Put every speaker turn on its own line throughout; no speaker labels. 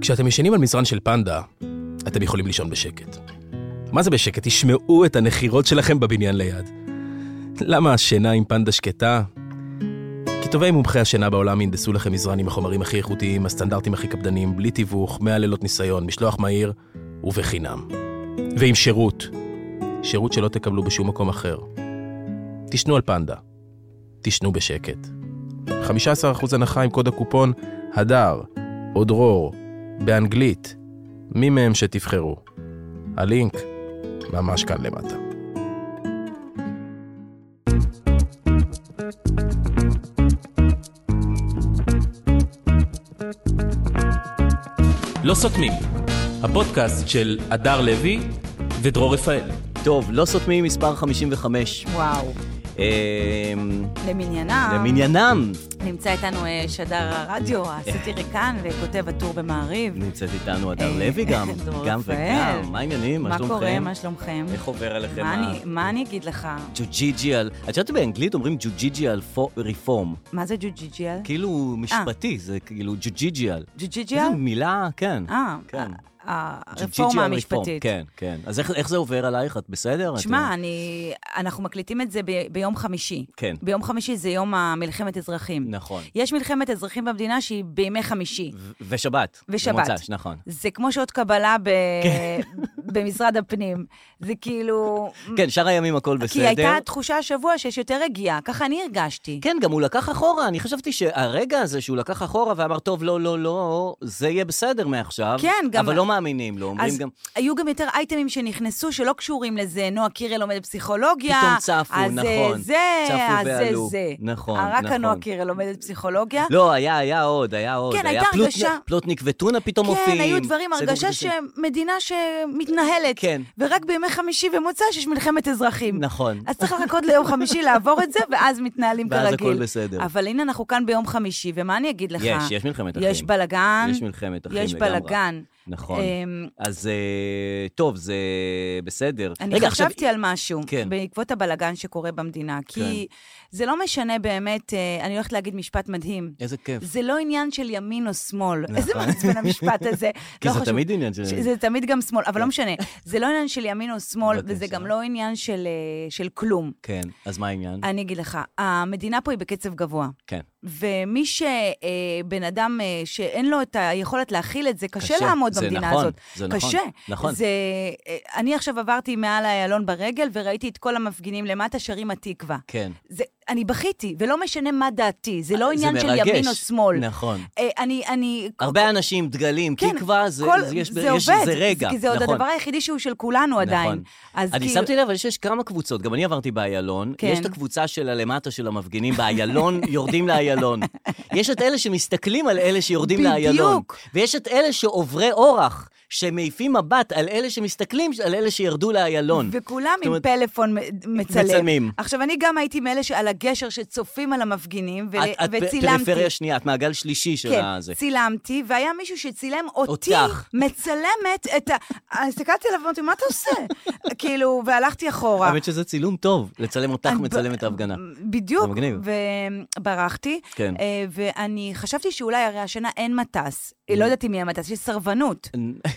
כשאתם ישנים על מזרן של פנדה, אתם יכולים לישון בשקט. מה זה בשקט? תשמעו את הנחירות שלכם בבניין ליד. למה השינה עם פנדה שקטה? כי טובי מומחי השינה בעולם ינדסו לכם מזרן עם החומרים הכי איכותיים, הסטנדרטים הכי קפדניים, בלי תיווך, 100 לילות ניסיון, משלוח מהיר ובחינם. ועם שירות. שירות שלא תקבלו בשום מקום אחר. תשנו על פנדה. תשנו בשקט. 15% הנחה עם קוד הקופון הדר או דרור באנגלית, מי מהם שתבחרו. הלינק ממש כאן למטה.
לא סותמים, הפודקאסט של הדר לוי ודרור רפאל.
טוב, לא סותמים מספר 55.
וואו.
אמ,
למניינם.
למניינם
נמצא איתנו אה, שדר הרדיו, הסטיריקן וכותב הטור במעריב.
נמצאת איתנו הדר
אה,
לוי גם,
דרור
גם
רפאל.
וגם, מה העניינים? מה
מה
שלומכם?
קורה? מה שלומכם?
איך עובר עליכם
מה
ה...
אני- מה אני אגיד לך?
ג'וג'יג'י על... את יודעת באנגלית אומרים ג'וג'יג'י על פו- רפורם.
מה זה ג'וג'יג'יאל?
כאילו משפטי,
אה.
זה כאילו ג'וג'יג'י על.
ג'וג'יג'יאל?
איזה מילה, כן.
אה,
כן.
ה-
ג'וג'יג'י
הרפורמה
על רפורם,
המשפטית.
כן, כן. אז איך איך זה עובר עלייך? את בסדר? את- אה,
שמע, אני- אנחנו מקליטים את זה ב- ביום חמישי.
כן.
ביום חמישי זה יום המלחמת אזרחים.
נכון.
יש מלחמת אזרחים במדינה שהיא בימי חמישי.
ו- ושבת.
ושבת.
במוצ"ש, נכון.
זה כמו שעות קבלה ב... במשרד הפנים. זה כאילו...
כן, שאר הימים הכל בסדר.
כי הייתה תחושה השבוע שיש יותר רגיעה, ככה אני הרגשתי.
כן, גם הוא לקח אחורה, אני חשבתי שהרגע הזה שהוא לקח אחורה ואמר, טוב, לא, לא, לא, זה יהיה בסדר מעכשיו.
כן, גם-
אבל לא מאמינים לו, אומרים
אז
גם...
היו גם יותר אייטמים שנכנסו שלא קשורים לזה, נועה קירל לומדת פסיכולוגיה.
פתאום צפו,
אז זה
נכון.
זה,
צפו
אז זה
ועלו.
זה. אה,
נכון,
רק
נכון.
הנועה קירל לומדת פסיכולוגיה.
לא, היה, היה עוד, היה עוד.
כן,
היה
הייתה
פלוט-
הרגשה-
פלוטניק וטונה פתאום מופיעים.
כן, היו דברים,
סדר
הרגשה
קדושים.
שמדינה שמתנהלת.
כן.
ורק בימי חמישי ומוצא שיש מלחמת אזרחים.
נכון.
אז צריך לחכות ליום חמישי לעבור את זה, ואז מתנהלים
ואז
כרגיל.
הכל בסדר.
אבל הנה אנחנו כאן ביום חמישי, ומה אני אגיד לך?
יש, יש מלחמת אחים.
יש בלאגן.
יש מלחמת אחים
יש
לגמרי.
בלאגן.
נכון.
אמ,
אז אה, טוב, זה בסדר.
אני
רגע, עכשיו-
חשבתי על משהו,
כן.
בעקבות הבלגן שקורה במדינה, כי זה לא משנה באמת, אה, אני הולכת להגיד משפט מדהים.
איזה כיף.
זה לא עניין של ימין או שמאל.
נכון.
איזה מעצבן המשפט הזה.
כי
לא
זה
חשוב.
תמיד עניין של-
ש- זה תמיד גם שמאל, אבל לא משנה. זה לא עניין של ימין או שמאל,
בבקשה.
וזה גם לא עניין של, אה, של כלום.
כן, אז מה העניין?
אני אגיד לך, המדינה פה היא בקצב גבוה.
כן.
ומי שבן אדם אה, שאין לו את היכולת להכיל את זה, קשה,
קשה,
לעמוד
זה
במדינה
נכון,
הזאת.
זה נכון,
קשה.
נכון.
זה, אה, אני עכשיו עברתי מעל איילון ברגל וראיתי את כל המפגינים למטה שרים התקווה.
כן.
זה, אני בכיתי, ולא משנה מה דעתי, זה לא
זה
עניין של
מרגש,
ימין או שמאל.
נכון.
אה, אני, אני...
הרבה אנשים, דגלים,
כן,
תקווה, זה,
כל-
זה, יש,
זה
יש,
עובד,
זה רגע.
כי זה עוד
נכון.
הדבר היחידי שהוא של כולנו עדיין. אז
אני
כאילו-
שמתי לב, אבל יש- יש כמה קבוצות, גם אני עברתי באיילון.
כן.
יש את הקבוצה של הלמטה של המפגינים באיילון, יורדים לאיילון. יש את אלה שמסתכלים על אלה שיורדים
בדיוק.
לאיילון. ויש את אלה שעוברי אורח, שמעיפים מבט על אלה שמסתכלים על אלה שירדו לאיילון.
וכולם
זאת
עם
אומרת,
פלאפון מ- מצלם.
מצלמים.
עכשיו, אני גם הייתי מאלה שעל הגשר שצופים על המפגינים, ו-
את- את פ-
וצילמתי.
פריפריה שנייה, את מעגל שלישי של
כן,
הזה.
צילמתי, והיה מישהו שצילם אותי,
אותך.
מצלמת את ה... הסתכלתי עליו ואמרתי, מה אתה עושה? כאילו, והלכתי אחורה.
האמת שזה צילום טוב, לצלם אותך
אני ב-
מצלם את ההפגנה.
בדיוק.
אה. זה מגניב.
וברחתי.
כן.
אה, ואני חשבתי שאולי הרי השנה אין מטס. לא ידעתי מי המטס, יש סרבנות.
Mm.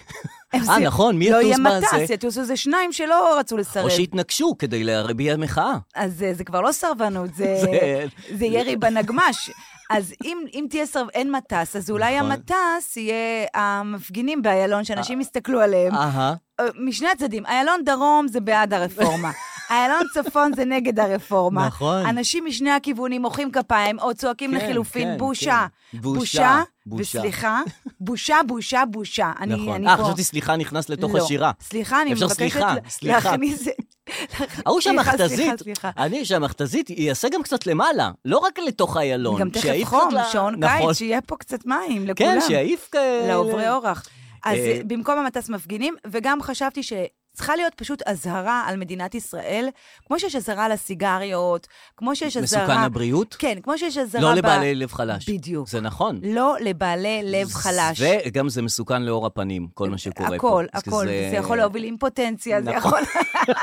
אה, נכון, מי
לא
יטוס
יהיה
בזה?
מטס, יטוסו איזה שניים שלא רצו לסרב.
או שהתנגשו כדי להביע מחאה.
אז אה, זה כבר לא סרבנות, זה,
זה-
זה ירי בנגמש. אז אם, אם תהיה סרב... אין מטס, אז אולי
נכון. אה.
המטס יהיה המפגינים באיילון, שאנשים יסתכלו עליהם.
אהה.
אה, משני הצדדים, איילון דרום זה בעד הרפורמה. איילון צפון זה נגד הרפורמה.
נכון.
אנשים משני הכיוונים מוחאים כפיים, או צועקים
כן,
לחילופין,
כן,
בושה.
כן. בושה,
בושה,
בושה.
וסליחה, בושה, בושה, בושה. אני,
נכון.
אני
אה,
פה...
חשבתי סליחה נכנס לתוך
לא.
השירה.
סליחה, אני
אפשר
מבקשת
סליחה,
לה-
סליחה.
להכניס...
ההוא
סליחה, סליחה,
שהמכתזית,
סליחה.
אני שהמכתזית יעשה גם קצת למעלה, לא רק לתוך איילון.
גם תכף
שיעיף
חום,
קצת ל-
שעון
נכון.
קיץ, שיהיה פה קצת מים לכולם.
כן, שיעיף כאלה.
לעוברי אורח. אז
אה,
במקום המטס מפגינים, וגם חשבתי ש... צריכה להיות פשוט אזהרה על מדינת ישראל, כמו שיש אזהרה לסיגריות, כמו שיש אזהרה...
מסוכן לבריאות?
כן, כמו שיש אזהרה...
לא
ב-
לבעלי לב חלש.
בדיוק.
זה נכון.
לא לבעלי לב חלש.
וגם זה מסוכן לאור הפנים, כל מה שקורה פה.
הכל,
אז
הכל,
זה-
זה יכול להוביל אימפוטנציה, זה
נכון.
יכול...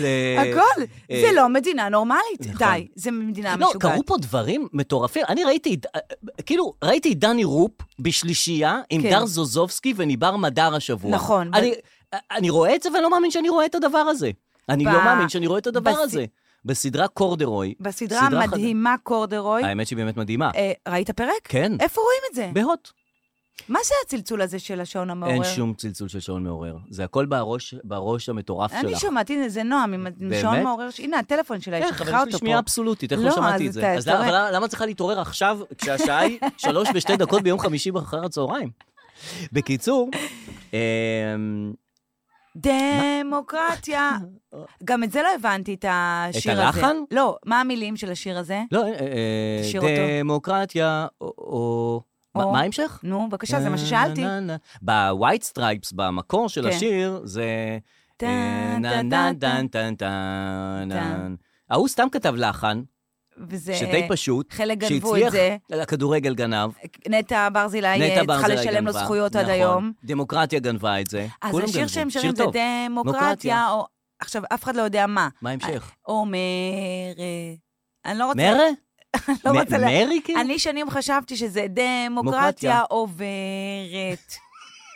זה-
הכל.
אה,
זה לא מדינה נורמלית.
נכון.
די, זה מדינה
לא,
משוגעת.
קרו פה דברים מטורפים. אני ראיתי, אה, כאילו, ראיתי את דני רופ בשלישייה עם
כן.
דר זוזובסקי וניבר מדר השבוע.
נכון.
אני- אה, אני רואה את זה ואני לא מאמין שאני רואה את הדבר הזה. אני
ב-
לא מאמין שאני רואה את הדבר
בס-
הזה. בסדרה קורדרוי.
בסדרה
סדרה חד-
המדהימה קורדרוי,
האמת שהיא באמת מדהימה.
אה, ראית פרק?
כן.
איפה רואים את זה?
בהוט.
מה זה הצלצול הזה של השעון המעורר?
אין שום צלצול של שעון מעורר. זה הכל בראש- בראש המטורף שלך.
אני שומעתי איזה נועם עם
באמת?
השעון מעורר, ש- הנה הטלפון שלה, היא
איך, אבל
שכחה
יש לי
אותו
שמיעה
פה.
אבסולוטית, איך
לא,
לא
אז
שמעתי את
אתה-
זה? אז למה-
אתה-
אבל למה- למה צריכה להתעורר עכשיו, כשהשעה היא שלוש ושתי דקות ביום חמישי אחר הצהריים? בקיצור, אמ,
דמוקרטיה. גם את זה לא הבנתי, את השיר הזה.
הלחן?
לא, מה המילים של השיר הזה?
לא, אה, אה,
תשאיר אותו.
דמוקרטיה, או- או... מה
או.
מה ההמשך?
נו, בבקשה, זה מה ששאלתי.
נה, נה, נה. ב-white stripes, במקור של
כן.
השיר, זה...
טן,
אה,
טן,
נה,
טן,
נה,
טן.
טן, טן, טן,
טן.
ההוא סתם כתב לחן,
וזה...
שדי פשוט,
חלק גנבו את
שהצליח,
זה.
הכדורגל גנב,
נטע ברזילי אה,
נטע
צריכה
ברזילי
לשלם לו
גנבה.
זכויות עד
נכון.
היום.
דמוקרטיה גנבה את זה.
אז
כולם
השיר
גנבו.
שהם
שיר
שרים זה
טוב.
דמוקרטיה,
דמוקרטיה.
או... עכשיו, אף אחד לא יודע מה.
מה ההמשך?
אומר... אה, אני לא רוצה...
מרה?
לא
מ-
רוצה לה-
מרי כאילו?
אני שנים חשבתי שזה דמוקרטיה
דמוקרטיה.
עוברת.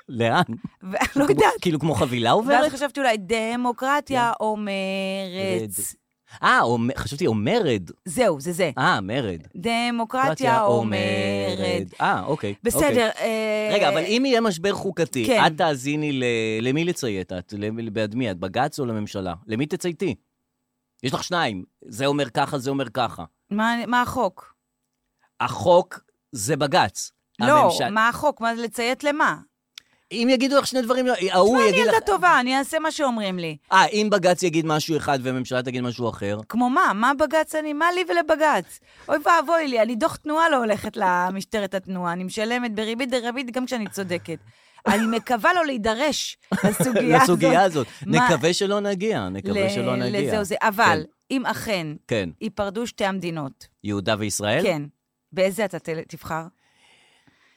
לאן?
ולא לא יודעת.
כאילו כמו חבילה
ואז
עוברת? כן.
חשבתי אולי דמוקרטיה אומרת.
רד. אה, אומר- חשבתי או מרד.
זהו, זה זה.
אה, מרד.
דמוקרטיה אומרת.
אה, אוקיי. אוקיי.
בסדר. אה,
רגע, אבל אם יהיה משבר חוקתי,
כן.
את תאזיני ל... למי לציית את? למי- בעד מי את? בג"ץ או לממשלה? למי תצייתי? יש לך שניים. זה אומר ככה, זה אומר ככה.
מה מה החוק?
החוק זה בג"ץ.
לא,
הממשל-
מה החוק? מה לציית למה?
אם יגידו לך שני דברים, אה, ההוא
אני
יגיד לך...
ילדה טובה, אני אעשה מה שאומרים לי.
אה, אם בג"ץ יגיד משהו אחד והממשלה תגיד משהו אחר,
כמו מה? מה בג"ץ אני? מה לי ולבג"ץ? אוי ואבוי לי, אני דוח תנועה לא הולכת למשטרת התנועה, אני משלמת בריבית דריבית גם כשאני צודקת. אני מקווה לא להידרש לסוגיה הזאת.
לסוגיה הזאת.
מה-
נקווה שלא נגיע, נקווה שלא
ל-
נגיע.
לזה או זה. אבל
כן.
אם אכן
כן,
ייפרדו שתי המדינות,
יהודה וישראל?
כן, באיזה אתה תל- תבחר?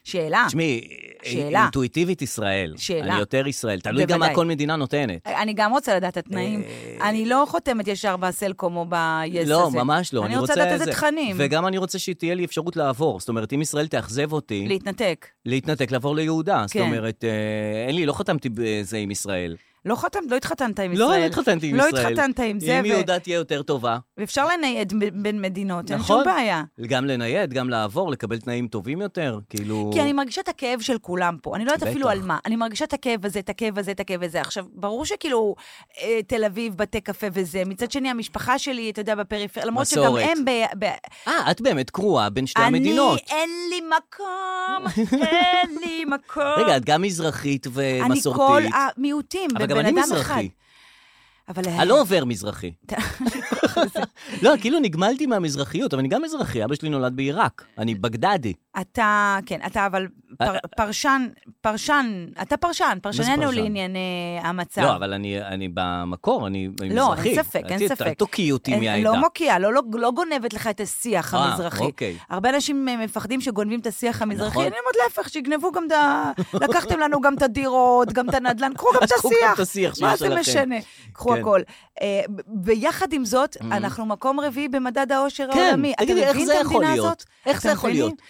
שאלה.
תשמעי,
אה, שאלה.
אינטואיטיבית ישראל.
שאלה.
אני יותר ישראל, תלוי גם
בוודאי.
מה כל מדינה נותנת.
אני גם רוצה לדעת את התנאים. אני לא חותמת ישר בסלקום או ב-yes הזה.
אה. לא, ממש לא.
אני רוצה לדעת
זה.
איזה תכנים.
וגם אני רוצה שתהיה לי אפשרות לעבור. זאת אומרת, אם ישראל תאכזב אותי,
להתנתק.
להתנתק, לעבור ליהודה. זאת
כן.
אומרת, אה, אין לי, לא חתמתי בזה עם ישראל.
לא חתמת, לא התחתנת עם ישראל.
לא, לא התחתנתי עם ישראל.
לא התחתנת עם זה,
אם
ו-
יהודה תהיה יותר טובה,
ואפשר לנייד ב- בין מדינות, אין
נכון.
שום בעיה.
גם לנייד, גם לעבור, לקבל תנאים טובים יותר, כאילו...
כי אני מרגישה את הכאב של כולם פה, אני לא יודעת
בטח.
אפילו על מה. אני מרגישה את הכאב הזה, את הכאב הזה, את הכאב הזה. עכשיו, ברור שכאילו אה, תל אביב, בתי קפה וזה. מצד שני, המשפחה שלי, אתה יודע, בפריפריה, למרות שגם
מסורת.
הם... ב- ב-
אה, את באמת קרועה בין שתי
אני,
המדינות.
אין לי מקום, אין לי מקום.
רגע, את גם מזרחית
אני
ומסורתית.
כל המיעוטים,
אבל
בבן
גם אני
אדם אחד.
מזרחי.
אבל... אה,
אני לא עובר מזרחי. לא, כאילו נגמלתי מהמזרחיות, אבל אני גם מזרחי, אבא שלי נולד בעיראק, אני בגדדי.
אתה, כן, אתה אבל
אה,
פר, פרשן, פרשן, אתה פרשן, פרשננו
פרשן?
לענייני המצב.
לא, אבל אני אני במקור, אני אני מזרחי.
לא, אין ספק, אין
אל ת-
ספק.
אל תוקיעי אותי
אין-
מי
לא
העדה.
מוקיעה, לא, לא, לא גונבת לך את השיח
אה,
המזרחי.
אוקיי.
הרבה אנשים אה, מפחדים שגונבים את השיח המזרחי,
נכון.
אני אומרת להפך, שיגנבו גם את ה... לקחתם לנו גם את הדירות, גם את הנדל"ן, קחו גם את
קחו גם
השיח.
את השיח
מה
שיש
זה
עליכם.
משנה? קחו
כן. Mm.
הכל. אה, ב- ביחד עם זאת, אנחנו מקום רביעי במדד העושר העולמי. אתה
כן, תגידי, איך
מבין
זה
את
יכול
המדינה
להיות?
הזאת?
איך
אתם
זה יכול
מבינים?
להיות?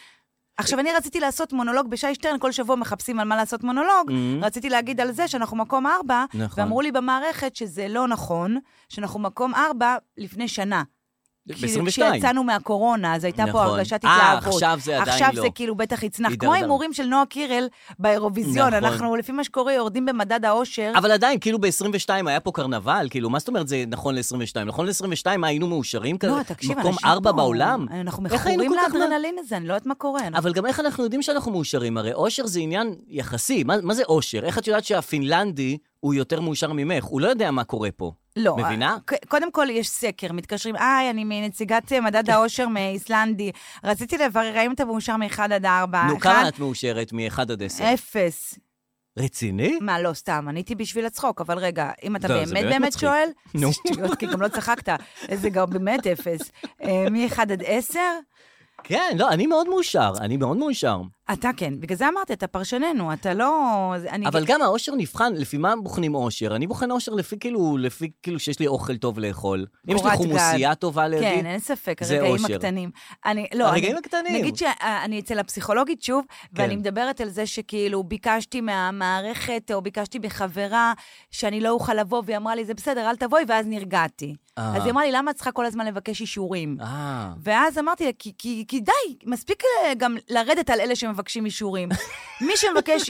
עכשיו, אני רציתי לעשות מונולוג בשי שטרן, כל שבוע מחפשים על מה לעשות מונולוג.
Mhm.
רציתי להגיד על זה שאנחנו מקום ארבע,
נכון.
ואמרו לי במערכת שזה לא נכון, שאנחנו מקום ארבע לפני שנה. כי
ב-22.
כשיצאנו מהקורונה, אז הייתה פה
נכון.
הרגשת
אה,
התלהבות.
עכשיו זה עדיין
עכשיו
לא.
זה כאילו בטח יצנח. כמו
הידרדר.
ההימורים של נועה קירל באירוויזיון.
נכון.
אנחנו, לפי מה שקורה, יורדים במדד האושר.
אבל עדיין, כאילו ב-22 היה פה קרנבל, כאילו, מה זאת אומרת זה נכון ל-22? נכון ל-22 היינו מאושרים כזה?
לא, תקשיב,
מקום
אנשים
ארבע
פה-
בעולם?
אנחנו
איך היינו
מכורים
כל כך מה-
לאדרנלין הזה, אני לא יודעת מה קורה. אנחנו-
אבל גם איך אנחנו יודעים שאנחנו מאושרים? הרי אושר זה עניין יחסי. מה, מה זה אושר? איך את יודעת שהפינלנדי הוא יותר מאושר ממך? הוא לא יודע מה קורה פה.
לא.
מבינה?
ק- קודם כל, יש סקר, מתקשרים, היי, אני מנציגת אה, מדד האושר מאיסלנדי. רציתי לברר האם אתה מאושר מ-1 עד 4. אה.
נו, כמה את מאושרת מ-1 עד 10?
אפס.
רציני?
מה, לא, סתם, עניתי בשביל הצחוק, אבל רגע, אם אתה
לא, זה
באמת
באמת
באמת
מצחיק.
שואל,
נו.
זה שטויות, כי גם לא צחקת, זה גם באמת אפס. אה, מ-1 עד 10?
כן, לא, אני מאוד מאושר, אני מאוד מאושר.
אתה כן, בגלל זה אמרתי, אתה פרשננו, אתה לא... זה- אני-
אבל גם האושר נבחן, לפי מה בוחנים אושר? אני בוחן אושר לפי כאילו, לפי כאילו שיש לי אוכל טוב לאכול. אם יש לי
קורת
חומוסייה טובה לידי,
כן, אין ספק,
זה
הרגעים
אושר.
הקטנים. אני, לא,
הרגעים
אני,
הקטנים.
נגיד שאני אצל הפסיכולוגית שוב,
כן.
ואני מדברת על זה שכאילו ביקשתי מהמערכת, או ביקשתי מחברה, שאני לא אוכל לבוא, והיא אמרה לי, זה בסדר, אל תבואי, ואז נרגעתי.
אה.
אז היא אמרה לי, למה את צריכה כל הזמן לבקש אישורים?
אה,
ואז אמרתי לה, כי, כי, כי די, מספיק אה, גם לרדת על אלה שמבקשים אישורים. מי שמבקש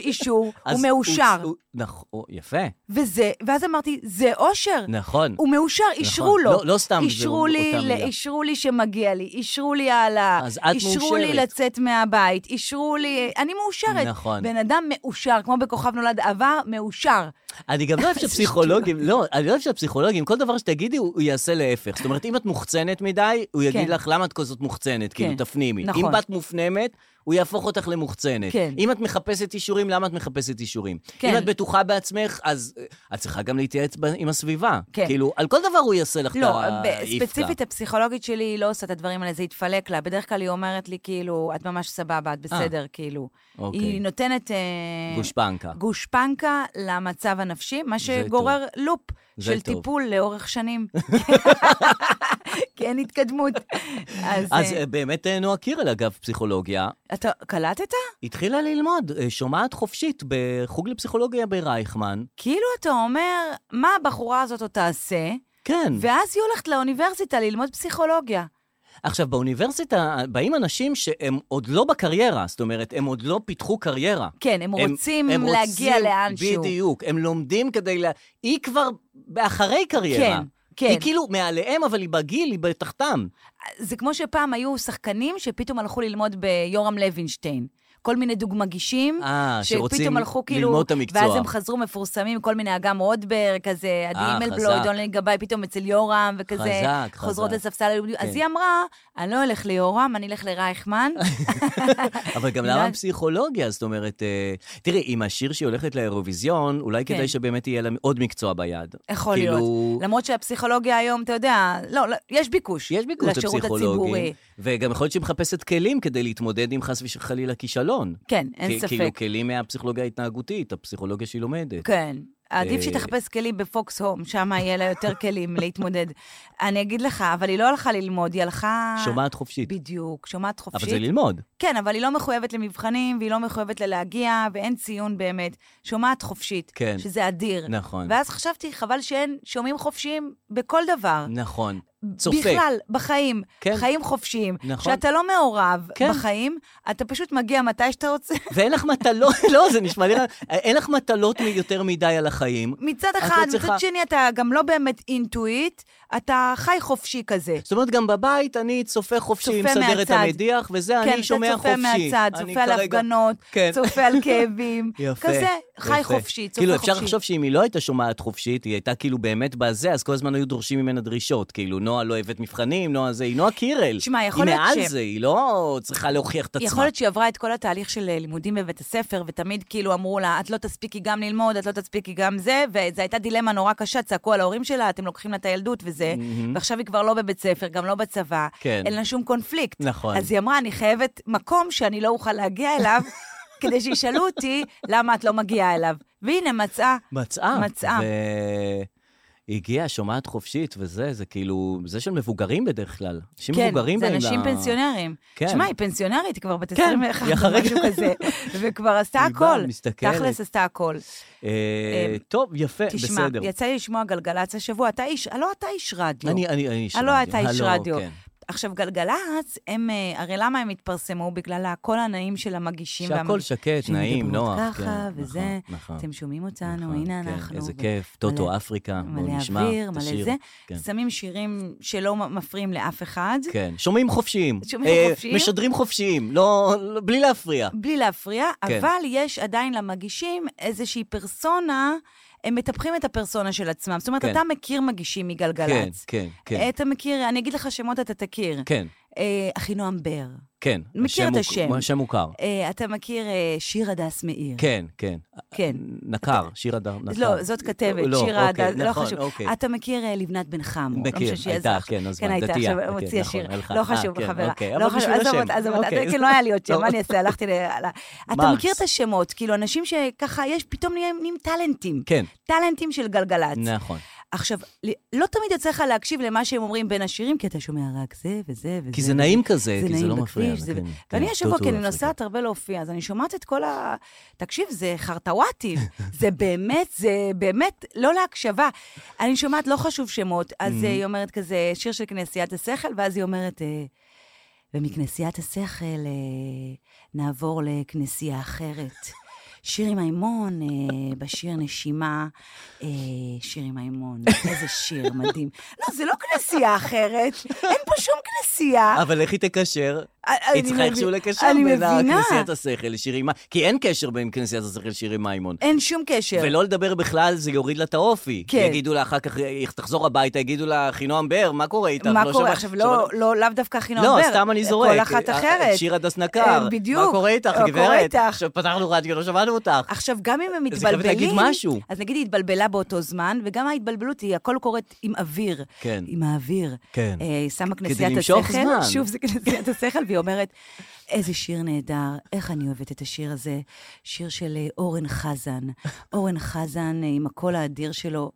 אישור,
אז
הוא מאושר.
הוא- נכון, יפה,
וזה, ואז אמרתי, זה אושר.
נכון.
הוא מאושר, אישרו לו.
לא- לא סתם זה
אישרו
אותה
לי,
מילה.
אישרו לי שמגיע לי, אישרו לי העלאה.
אז את
אישרו לי
מאושרת.
לצאת מהבית, אישרו לי... אני מאושרת.
נכון.
בן אדם מאושר, כמו בכוכב נולד עבר, מאושר.
אני גם לא אוהב שפסיכולוגים, לא, אני לא אוהב שפסיכולוגים, כל דבר שתגידי, הוא הוא יעשה להפך. זאת אומרת, אם את מוחצנת מדי, הוא יגיד
כן.
לך, למה את כזאת מוחצנת? כאילו,
כן,
תפנימי.
נכון.
אם באת מופנמת, הוא יהפוך אותך למוחצנת.
כן.
אם את מחפשת אישורים, למה את מחפשת אישורים?
כן.
אם את בטוחה בעצמך, אז אה, את צריכה גם להתייעץ ב- עם הסביבה.
כן.
כאילו, על כל דבר הוא יעשה לך את
לא, ב-
האיפקה.
ספציפית הפסיכולוגית שלי, היא לא עושה את הדברים האלה, זה התפלק לה. בדרך כלל היא אומרת לי, כאילו, את ממש סבבה, את בסדר, כאילו.
אה, אוקיי.
היא נותנת... אה,
גושפנקה.
גושפנקה למצב הנפשי, מה
זה
שגורר לופ
זה
של
טוב.
טיפול לאורך שנים. כי אין התקדמות. אז
אז
אה,
אה, באמת אה, נועה קירל, אגב, פסיכולוגיה,
אתה קלטת?
התחילה ללמוד אה, שומעת חופשית בחוג לפסיכולוגיה ברייכמן.
כאילו אתה אומר, מה הבחורה הזאת עוד תעשה,
כן.
ואז היא הולכת לאוניברסיטה ללמוד פסיכולוגיה.
עכשיו, באוניברסיטה באים אנשים שהם עוד לא בקריירה, זאת אומרת, הם עוד לא פיתחו קריירה.
כן, הם רוצים להגיע
רוצים-
לאנשהו.
בדיוק, הם לומדים כדי ל... היא כבר אחרי קריירה.
כן, כן.
היא כאילו מעליהם, אבל היא בגיל, היא בתחתם.
זה כמו שפעם היו שחקנים שפתאום הלכו ללמוד ביורם לוינשטיין. כל מיני דוגמגישים,
אה, שרוצים
שפתאום הלכו כאילו,
ללמוד את המקצוע.
ואז הם חזרו מפורסמים, כל מיני אגם רוטברג, כזה,
אה,
עדי מלבלוי,
חזק.
דונלין גבאי, פתאום אצל יורם, וכזה,
חזק,
חוזרות
חזק.
לספסל הלימודים. אז
כן.
היא אמרה, אני לא אלך ליורם, אני אלך לרייכמן.
אבל גם
יודעת-
למה פסיכולוגיה? זאת אומרת, אה, תראי, עם השיר שהיא הולכת לאירוויזיון, אולי
כן.
כדאי שבאמת יהיה לה עוד מקצוע ביד.
יכול
כאילו-
להיות. למרות שהפסיכולוגיה היום, אתה יודע, לא, לא, יש ביקוש.
יש ביקוש
לשירות
לפסיכולוגים,
הציבורי.
וגם יכול להיות שהיא מחפשת כלים כדי להתמודד עם חס וחלילה כישלון.
כן, אין
כי- כאילו
ספק.
כלים מהפסיכולוגיה ההתנהגותית, הפסיכולוגיה שהיא לומדת.
כן. עדיף
אה,
שתחפש כלים בפוקס הום, שם יהיה לה יותר כלים להתמודד. אני אגיד לך, אבל היא לא הלכה ללמוד, היא הלכה...
שומעת חופשית.
אה, בדיוק, שומעת
אבל
חופשית.
זה ללמוד.
כן, אבל היא לא מחויבת למבחנים, והיא לא מחויבת ללהגיע, ואין ציון באמת. שומעת חופשית,
כן.
שזה אדיר.
נכון.
ואז חשבתי, חבל שאין שומעים חופשיים בכל דבר.
נכון. צופה.
בכלל, בחיים.
כן.
חיים חופשיים.
נכון.
שאתה לא מעורב
כן.
בחיים, אתה פשוט מגיע מתי שאתה רוצה.
ואין לך מטלות, לא, זה נשמע לי, רע. אין לך מטלות מ- יותר מדי על החיים.
מצד
לא
אחד, מצד
צריכה-
שני, אתה גם לא באמת אינטואיט, אתה חי חופשי כזה.
זאת אומרת, גם בבית אני צופה חופשי,
צופה
מסדר את
מהצד.
המדיח, וזה,
כן,
אני שומע חופשי.
אתה צופה מהצד,
אני
צופה על
כרגע-
הפגנות,
כן.
צופה על כאבים.
יפה.
כזה, חי
יפה.
חופשי, צופה
כאילו,
חופשי.
אפשר לחשוב שאם היא לא הייתה שומעת חופשית, היא הייתה כאילו באמת בזה, אז כל הזמן היו דורשים ממנה דרישות. כאילו, נועה לא הבאת מבחנים, נועה זה, היא נועה קירל.
תשמע, יכול להיות
היא מעל
ש-
זה, היא לא צריכה להוכיח את עצמה.
יכול להיות שהיא עברה את כל התהליך של אה, לימודים בבית הספר, ותמיד כאילו אמרו לה, את לא תספיקי גם ללמוד, את לא תספיקי גם זה, וזו הייתה דילמה נורא קשה, צעקו על ההורים שלה, אתם לוקחים לה את הילדות וזה, ועכשיו היא כבר לא בבית ספר, גם לא בצבא,
כן.
אין לה שום קונפליקט.
נכון.
אז היא אמרה, אני חייבת מקום שאני לא אוכל להגיע אליו, כדי שישאלו אותי למה את לא מגיעה אליו. והנה, מצאה.
מצאה.
מצאה.
והיא הגיעה, שומעת חופשית וזה, זה כאילו, זה של מבוגרים בדרך כלל. אנשים
כן,
מבוגרים
זה
באים
אנשים
ל-
פנסיונרים.
כן.
שמע, היא פנסיונרית, היא כבר בת
כן,
21
היא
או
אחרי-
משהו כזה, וכבר עשתה
היא באה,
הכל.
מסתכלת.
תכלס עשתה הכל.
אה,
אה,
טוב, יפה,
תשמע,
בסדר.
יצא לי לשמוע גלגלצ השבוע, אתה איש, הלא אתה איש רדיו.
אני, אני, אני איש
הלא אתה איש
הלו,
רדיו.
כן.
עכשיו, גלגלצ, הם, אה, הרי למה הם התפרסמו? בגלל הקול הנעים של המגישים.
שהכל
והמגיש-
שקט,
שהם
נעים,
מדברות
נוח.
ככה
כן,
וזה,
נכון, נכון.
אתם שומעים אותנו,
נכון,
הנה
כן,
אנחנו.
איזה
ו-
כיף,
מלא-
טוטו אפריקה, בואו
מלא
נשמע
אוויר,
את
מלא
השיר.
זה.
כן.
שמים שירים שלא מפריעים לאף אחד.
כן, שומעים חופשיים.
שומעים
אה,
חופשיים?
משדרים חופשיים, לא, לא- בלי להפריע.
בלי להפריע,
כן.
אבל יש עדיין למגישים איזושהי פרסונה, הם מטפחים את הפרסונה של עצמם. זאת אומרת,
כן.
אתה מכיר מגישים
כן,
מגלגלצ.
כן, כן.
אתה מכיר, אני אגיד לך שמות, אתה תכיר.
כן.
אה, אחינועם בר.
כן.
מכיר
השם
את
מוכ-
השם.
השם מוכר.
אה, אתה מכיר אה, שיר הדס מאיר.
כן, כן.
כן.
נקר, שיר הדר נקר.
לא, זאת כתבת,
לא,
שירה
אוקיי,
הדס, לא
נכון,
חשוב.
אוקיי.
אתה מכיר אה, לבנת בן חמו. לא
מכיר,
משנה שהיא
הייתה,
עזרה.
כן, אז
כן,
מה,
הייתה,
דתייה.
עכשיו
אוקיי,
הוציאה
נכון,
שיר.
הלכה.
לא
אה,
חשוב,
כן,
חברה.
אוקיי,
לא
אבל
חשוב,
בשביל
עזוב
השם.
אותה, עזוב אותה.
אוקיי.
כן, לא היה לי עוד שם, מה אני אעשה? הלכתי ל... על ה- אתה
מרקס.
מכיר את השמות, כאילו, אנשים שככה, יש, פתאום נהיים נהיים טאלנטים.
כן,
טאלנטים של גלגלצ.
נכון.
עכשיו, ל- לא תמיד יצא לך להקשיב למה שהם אומרים בין השירים, כי אתה שומע רק זה וזה וזה.
כי זה נעים כזה,
זה
כי זה
נעים
לא מפריע.
בכביש, זה-
כן,
ואני
כן,
השבוע,
טוטו
כי אני
אפריקה.
נוסעת הרבה להופיע, אז אני שומעת את כל ה... תקשיב, זה חרטוואטים. זה באמת, זה באמת לא להקשבה. אני שומעת לא חשוב שמות,
Mm-hmm.
אז אה, היא אומרת כזה, שיר של כנסיית השכל, ואז היא אומרת, אה, ומכנסיית השכל אה, נעבור לכנסייה אחרת. שיר עם מימון, אה, בשיר נשימה, אה, שיר עם מימון, איזה שיר מדהים. לא, זה לא כנסייה אחרת, אין פה שום כנסייה.
אבל איך היא תקשר? היא
אני
צריכה
מבין-
איכשהו לקשר
אני
בין
מבינה.
כנסיית השכל לשיר עם... כי אין קשר בין כנסיית השכל לשיר עם מימון.
אין שום קשר.
ולא לדבר בכלל, זה יוריד לה את האופי.
כן.
יגידו לה אחר כך, היא תחזור הביתה, יגידו לה, חינועם באר, מה קורה איתך?
מה
לא
קורה
שמע-
עכשיו?
שמע-
לא, לא, לאו דווקא הכי נאמר.
לא, סתם אני זורק.
כל אחת
אה,
אחרת.
שיר הדס נקר.
אה, בדיוק.
מה קורה איתך,
מה קורה
גברת?
איתך?
עכשיו פתחנו רדיו, לא שמענו אותך.
עכשיו, גם אם הם
אז היא חייבת
מתבלבלים...
להגיד משהו.
אז נגיד היא התבלבלה באותו זמן, וגם ההתבלבלות היא, הכל קורית עם אוויר.
כן.
עם האוויר.
כן.
אה, היא שמה כנסיית השכל.
למשוך זמן.
שוב, זה כנסיית השכל, והיא אומרת, איזה שיר נהדר, איך אני אוהבת את השיר הזה. שיר של אה, אורן חזן. אורן חזן, אה, עם הקול האדיר שלו,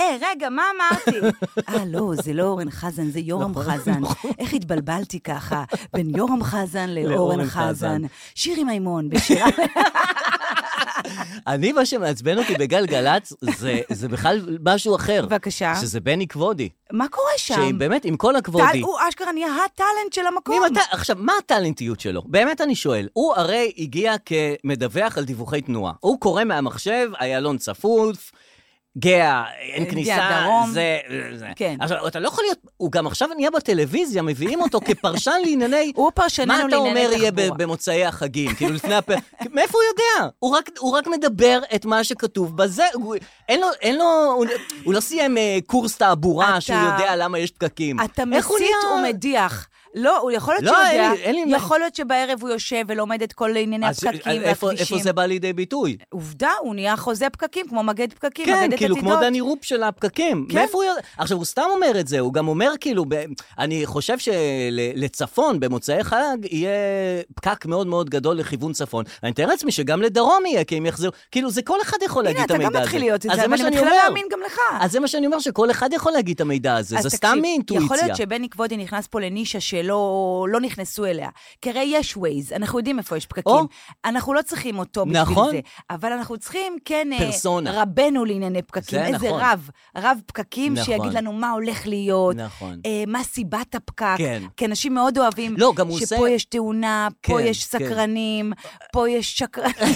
היי, רגע, מה אמרתי? אה, לא, זה לא אורן חזן, זה יורם
נכון,
חזן. איך התבלבלתי ככה בין יורם חזן לאורן חזן? שירי מימון, בשירה...
אני, מה שמעצבן אותי בגלגלצ, זה- זה בכלל משהו אחר.
בבקשה.
שזה בני כבודי.
מה קורה שם?
שהיא באמת, עם כל
טל-
הכבודי.
הוא אשכרה נהיה הטאלנט של המקום.
ממתי, עכשיו, מה הטאלנטיות שלו? באמת אני שואל. הוא הרי הגיע כמדווח על דיווחי תנועה. הוא קורא מהמחשב, איילון צפוף, גאה, אין
גאה,
כניסה,
דרום.
זה... זה.
כן.
עכשיו, אתה לא יכול להיות... הוא גם עכשיו נהיה בטלוויזיה, מביאים אותו כפרשן לענייני...
הוא פרשננו
מה אתה
לענייני
אומר יהיה
תחבורה.
ב- במוצאי החגים? כאילו, לפני הפ... מאיפה הוא יודע? הוא רק, הוא רק מדבר את מה שכתוב בזה. הוא, אין לו... אין לו הוא, הוא לא סיים אה, קורס תעבורה
אתה-
שהוא יודע למה יש פקקים.
אתה
איך הוא
מסית
נהיה-
ומדיח. לא, הוא יכול להיות
לא,
שהוא
אין
יודע,
לי- אין לי-
יכול להיות שבערב הוא יושב ולומד את כל ענייני
אז-
הפקקים
אז איפה- איפה
והכבישים.
זה בא לידי ביטוי?
עובדה, הוא נהיה חוזה פקקים, כמו מגד פקקים,
כן,
מגדת
כאילו, כמו
עתידות.
דני רופ של הפקקים.
כן.
מאיפה הוא יודע? עכשיו, הוא סתם אומר את זה, הוא גם אומר, כאילו, ב- אני חושב שלצפון, במוצאי חג, יהיה פקק מאוד מאוד גדול לכיוון צפון. אני מתאר לעצמי שגם לדרום יהיה, כי הם יחזרו... כאילו, זה כל אחד יכול
הנה,
להגיד את
אתה
המידע הזה.
גם מתחיל להיות את
אז מה
זה, ואני
שאני
מתחילה
אומר.
להאמין גם לך.
אז זה מה שאני אומר, שכל אחד יכול להגיד את המידע הזה,
אז
זה
תקשיב,
סתם מאינטואיציה.
יכול להיות שבני כבודי נכנס פה לנישה שלא לא נכנסו אליה. כי הרי יש ווייז, אנחנו יודעים איפה יש פקקים.
או.
אנחנו לא צריכים אותו בשביל
נכון.
זה. אבל אנחנו צריכים, כן, אה,
פרסונה.
רבנו לענייני פקקים.
זה
איזה
נכון.
רב, רב פקקים
נכון.
שיגיד לנו מה הולך להיות.
נכון.
אה, מה סיבת הפקק?
כן.
כי אנשים מאוד אוהבים,
לא, גם הוא
שפה
עושה-
יש תאונה, פה
כן,
יש
כן.
סקרנים, פה יש שקרנים.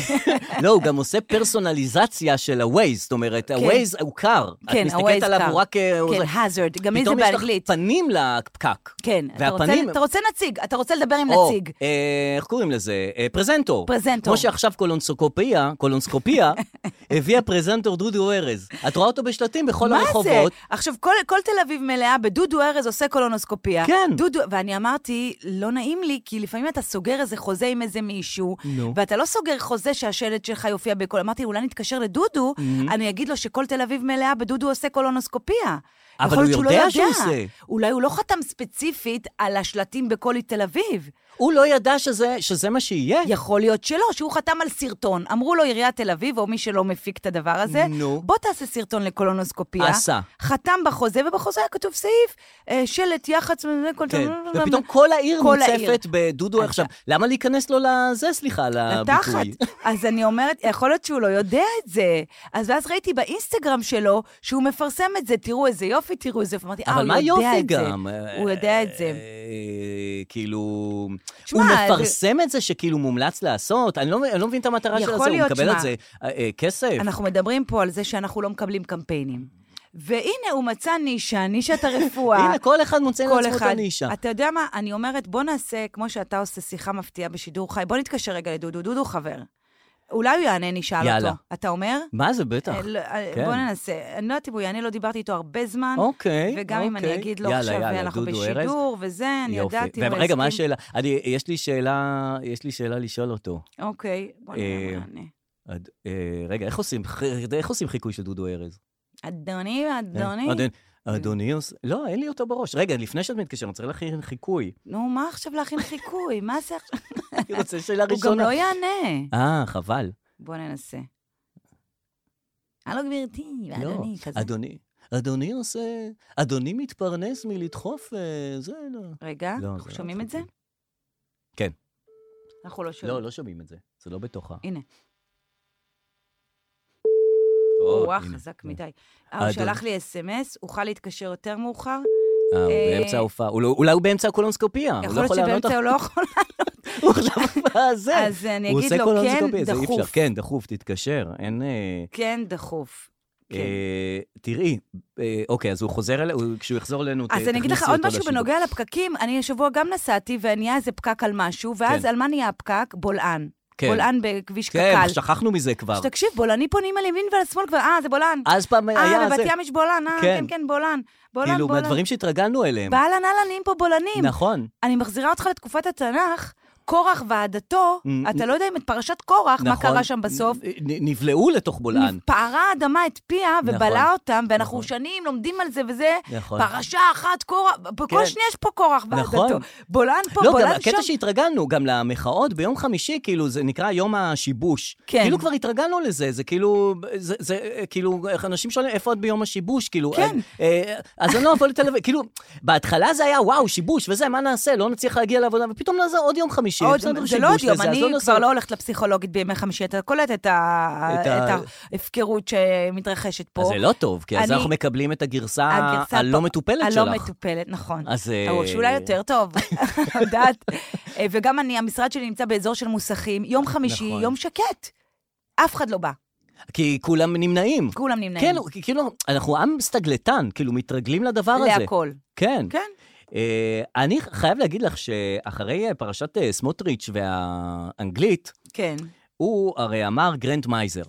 לא, הוא גם עושה פרסונליזציה של ה-Waze, זאת אומרת, ה-Waze הוא קר.
כן,
את מסתכלת
ה-Waze
עליו,
קר.
הוא רק... אה, הוא
כן,
זה-
hazard, גם לי זה
פתאום יש לך
באנגלית.
פנים לפקק.
כן, אתה רוצה-
והפנים-
אתה רוצה נציג, אתה רוצה לדבר עם
או,
נציג.
אה, איך קוראים לזה? אה, פרזנטור.
פרזנטור.
כמו שעכשיו קולונסקופיה, קולונסקופיה, הביאה פרזנטור דודו ארז. את רואה אותו בשלטים בכל
מה
הרחובות.
זה? עכשיו, כל, כל תל אביב מלאה בדודו ארז עושה קולונוסקופיה.
כן.
דודו, ואני אמרתי, לא נעים לי, כי לפעמים אתה סוגר איזה חוזה עם איזה מישהו,
נו.
ואתה לא סוגר חוזה שהשלט שלך יופיע בכל... אמרתי, אולי נתקשר לדודו,
Mm-hmm.
אני אגיד לו שכל תל אביב מלאה בדודו עושה קולונוסקופיה.
אבל
יכול להיות
הוא
לא
יודע שהוא עושה.
אולי הוא לא חתם ספציפית על השלטים בכל תל אביב.
הוא לא ידע שזה שזה מה שיהיה.
יכול להיות שלא, שהוא חתם על סרטון. אמרו לו עיריית תל אביב, או מי שלא מפיק את הדבר הזה,
נו.
בוא תעשה סרטון לקולונוסקופיה.
עשה.
חתם בחוזה, ובחוזה היה כתוב סעיף, אה, שלט, יח"צ, וזה, כל
כן,
דבר.
ופתאום כל העיר
כל העיר. אה,
מוצפת בדודו עכשיו. למה להיכנס לו לזה, סליחה,
לתחת.
לביטוי?
אז אני אומרת, יכול להיות שהוא לא יודע את זה. אז ואז ראיתי באינסטגרם שלו שהוא מפרסם את זה, תראו איזה יופי, תראו איזה יופי. אמרתי, אה,
אבל
הוא
מה
יודע
יופי
את זה.
גם?
הוא יודע את זה.
אה, כאילו,
שמע,
הוא
זה-
מפרסם את זה שכאילו מומלץ לעשות? אני לא אני לא מבין את המטרה של
יכול
זה, הוא
להיות,
מקבל
שמע.
על זה אה, אה, כסף?
אנחנו מדברים פה על זה שאנחנו לא מקבלים קמפיינים. והנה, הוא מצא נישה, נישת הרפואה.
הנה, כל אחד מוצא
כל
לעצמו את
אחד.
הנישה.
אתה יודע מה, אני אומרת, בוא נעשה, כמו שאתה עושה שיחה מפתיעה בשידור חי, בוא נתקשר רגע לדודו, דודו חבר. אולי הוא יענה, נשאל
יאללה.
אותו. אתה אומר?
מה זה, בטח.
אה, לא, אה,
כן.
בוא ננסה. אני לא יודעת אם הוא יענה, לא דיברתי איתו הרבה זמן.
אוקיי,
וגם אם אני
אוקיי.
אגיד לו
יאללה,
עכשיו,
יאללה,
אנחנו
דודו ארז.
בשידור כן, וזה, אני
יופי.
יודעת אם הוא
ורגע, מה
יסכים.
השאלה? אני- יש לי שאלה, יש לי שאלה לשאול אותו.
אוקיי, בוא נראה
אה,
מה יענה.
אד- אה, רגע, איך עושים ח- איך עושים חיקוי של דודו ארז?
אדוני,
כן?
אדוני.
אדון- אדוני עושה... לא, אין לי אותו בראש. רגע, לפני שאת מתקשרת, אני צריך להכין חיקוי.
נו, מה עכשיו להכין חיקוי? מה זה עכשיו?
אני רוצה שאלה
הוא גם
ראשונה.
לא יענה.
אה, חבל.
בוא ננסה. הלו, גברתי,
לא.
ואדוני, כזה.
אדוני, אדוני עושה... אדוני מתפרנס מלדחוף... אה, זה לא...
רגע,
לא, זה
אנחנו
לא
שומעים את זה?
כן.
אנחנו לא שומעים.
לא, לא שומעים את זה. זה לא בתוכה.
הנה.
או,
וואו,
לא, הנה.
חזק מדי. אה, הוא
אדון-
שלח לי אס.אם.אס, אוכל להתקשר יותר מאוחר?
אה, הוא
אה,
באמצע ההופעה. הוא לא- אולי הוא באמצע הקולונוסקופיה. הוא
יכול
לא
להיות
יכול לענות
שבאמצע הוא לא יכול.
הוא עכשיו בזה.
אז אני
הוא
אגיד
עושה
לו,
קולונוסקופיה,
כן,
זה אי אפשר.
דחוף.
כן, דחוף, תתקשר. אין... אה,
כן, דחוף. כן.
אה, תראי, אה, אוקיי, אז הוא חוזר אלינו, הוא- כשהוא יחזור אלינו, ת-
אז אני אגיד לך
אוקיי, תכניסי
עוד
אותו
משהו
לשידור.
בנוגע לפקקים. אני השבוע גם נסעתי, ונהיה איזה פקק על משהו, ואז
כן.
על מה נהיה הפקק? בולען.
כן.
בולען בכביש
כן,
קק"ל.
שכחנו מזה כבר.
שתקשיב, בולענים פונים על ימין ועל שמאל כבר, אה, זה בולען.
אז פעם
אה,
היה זה.
בבת ים יש בולען, אה,
כן.
כן, כן, בולען. בולען,
כאילו,
בולען.
מהדברים שהתרגלנו אליהם.
באהלן אהלן נהיים פה בולענים.
נכון.
אני מחזירה אותך לתקופת התנ"ך, קורח ועדתו,
נ-
אתה לא יודע אם את פרשת קורח, מה
נכון.
קרה שם בסוף.
נ- נבלעו לתוך בולען.
פערה האדמה את פיה
נכון,
ובלעה אותם, ואנחנו
נכון.
שנים לומדים על זה וזה.
נכון.
פרשה אחת, קורח,
כן.
בכל שנייה יש פה קורח
נכון.
ועדתו. בולען פה,
לא, גם
בולען
הקטע
שם.
שהתרגלנו, גם למחאות ביום חמישי, כאילו, זה נקרא יום השיבוש.
כן.
כאילו כבר התרגלנו לזה, זה כאילו, זה, זה אה, כאילו, איך אנשים שואלים, איפה את ביום השיבוש? כאילו,
כן.
אה, אה, אז אני לא אבוא לתל אביב, כאילו, בהתחלה זה היה, וואו, שיבוש וזה, מה נעשה? לא נצליח להגיע לעבודה, ופתאום נעשה עוד יום חמישי,
עוד-
בסדר,
זה לא עוד
שיבוש
יום,
וזה, אז
אני
נעשה-
כבר לא הולכת לפסיכולוגית בימי חמישי, אתה קולט את ה-
את ה-
את ההפקרות שמתרחשת פה.
אז זה לא טוב, כי אז
אני-
אנחנו מקבלים את הגרסה
הגרסה
הלא
פה-
מטופלת
הלא
שלך.
מטופלת, נכון.
אז... אה,
או שאולי יותר טוב, לא יודעת. אה, וגם אני, המשרד שלי נמצא באזור של מוסכים, יום חמישי,
נכון.
יום שקט. אף אחד לא בא,
כי כולם נמנעים.
כולם נמנעים.
כן, כי- כאילו, אנחנו עם סטגלטן, כאילו, מתרגלים לדבר הזה.
להכל.
כן.
כן.
אה, אני חייב להגיד לך שאחרי אה, פרשת אה, סמוטריץ' והאנגלית,
כן.
הוא הרי אמר גרנד מייזר.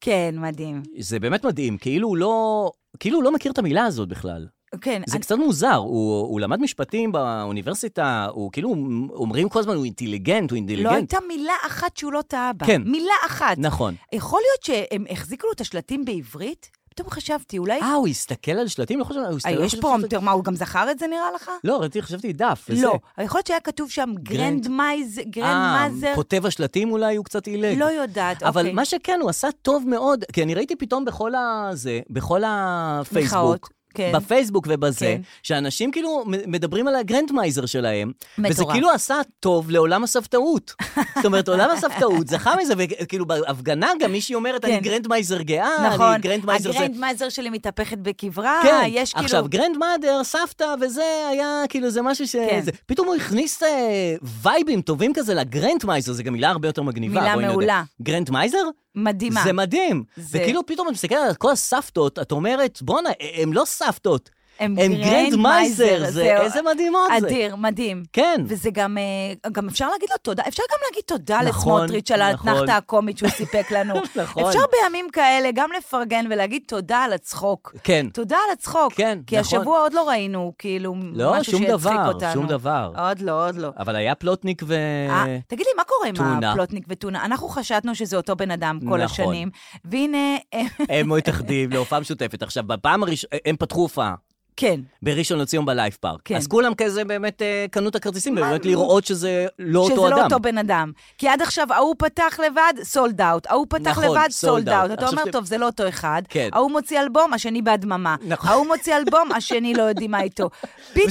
כן, מדהים.
זה באמת מדהים, כאילו הוא לא, כאילו הוא לא מכיר את המילה הזאת בכלל.
כן,
זה
אני-
קצת מוזר, הוא, הוא למד משפטים באוניברסיטה, הוא כאילו, אומרים כל הזמן, הוא אינטליגנט, הוא
לא אה,
אינטליגנט.
הייתה מילה אחת שהוא לא טעה בה.
כן.
מילה אחת.
נכון.
יכול להיות שהם החזיקו לו את השלטים בעברית? פתאום חשבתי, אולי...
אה, הוא הסתכל על שלטים? לא חושב, הוא הסתכל...
אה,
לא
יש
חושב
פה,
שזה-
מה, הוא גם זכר את זה נראה לך?
לא, ראיתי, חשבתי דף. וזה.
לא. יכול להיות שהיה כתוב שם גרנד מייז, גרנד
אה,
מייזר,
כותב השלטים אולי הוא קצת עילג.
לא יודעת, אוקיי.
אבל מה שכן, הוא עשה טוב מאוד, כי אני ראיתי פתאום בכל ה... זה, בכל
מחאות,
הפייסבוק.
כן.
בפייסבוק ובזה,
כן.
שאנשים כאילו מ- מדברים על הגרנדמייזר שלהם, וזה
מטורף.
כאילו עשה טוב לעולם הסבתאות. זאת אומרת, עולם הסבתאות זכה מזה, וכאילו בהפגנה גם מישהי אומרת, אני
כן.
גרנדמייזר גאה,
נכון,
אני גרנדמייזר זה.
הגרנד מייזר שלי מתהפכת בקברה,
כן,
יש כאילו...
עכשיו, גרנדמאדר, סבתא וזה, היה כאילו, זה משהו ש...
כן.
זה- פתאום הוא הכניס אה, וייבים טובים כזה לגרנדמייזר, זו גם מילה הרבה יותר מגניבה.
מילה
בואי נודה.
מעולה.
גרנדמייזר?
מדהימה.
זה מדהים.
זה-
וכאילו פתאום את מסתכלת על כל הסבתות, את אומרת, בואנה, הן לא סבתות,
הם
הן גרנדמייזר, זה
זהו.
איזה מדהימות זה.
אדיר, מדהים.
כן.
וזה גם, אה, גם אפשר להגיד לו תודה, אפשר גם להגיד תודה
נכון,
לסמוטריץ' על
נכון.
האתנחתא הקומית שהוא סיפק לנו.
נכון.
אפשר בימים כאלה גם לפרגן ולהגיד תודה על הצחוק.
כן.
תודה על הצחוק.
כן,
כי
נכון.
השבוע עוד לא ראינו, כאילו,
לא,
משהו
שום
שיצחיק
דבר,
אותנו.
שום דבר.
עוד לא, עוד לא.
אבל היה פלוטניק ו...
אה, תגיד לי, מה קורה עם
טונה.
הפלוטניק וטונה? אנחנו חשדנו שזה אותו בן אדם כל
נכון.
השנים, והנה, אה,
הם מתאחדים להופעה משותפת. עכשיו, בפעם הראשונה, הם פתחו הופעה.
כן,
בראשון לציון בלייב פארק.
כן.
אז כולם כזה באמת אה, קנו את הכרטיסים, באמת לראות שזה לא אותו
שזה
אדם.
לא אותו בן אדם. כי עד עכשיו ההוא פתח לבד, סולד אאוט. ההוא פתח
נכון,
לבד,
sold
סולד
out.
אאוט. אתה
עכשיו
אומר,
שאתם-
טוב, זה לא אותו אחד.
כן.
ההוא מוציא אלבום, השני בהדממה.
נכון.
ההוא מוציא אלבום, השני לא יודעים מה איתו.
זה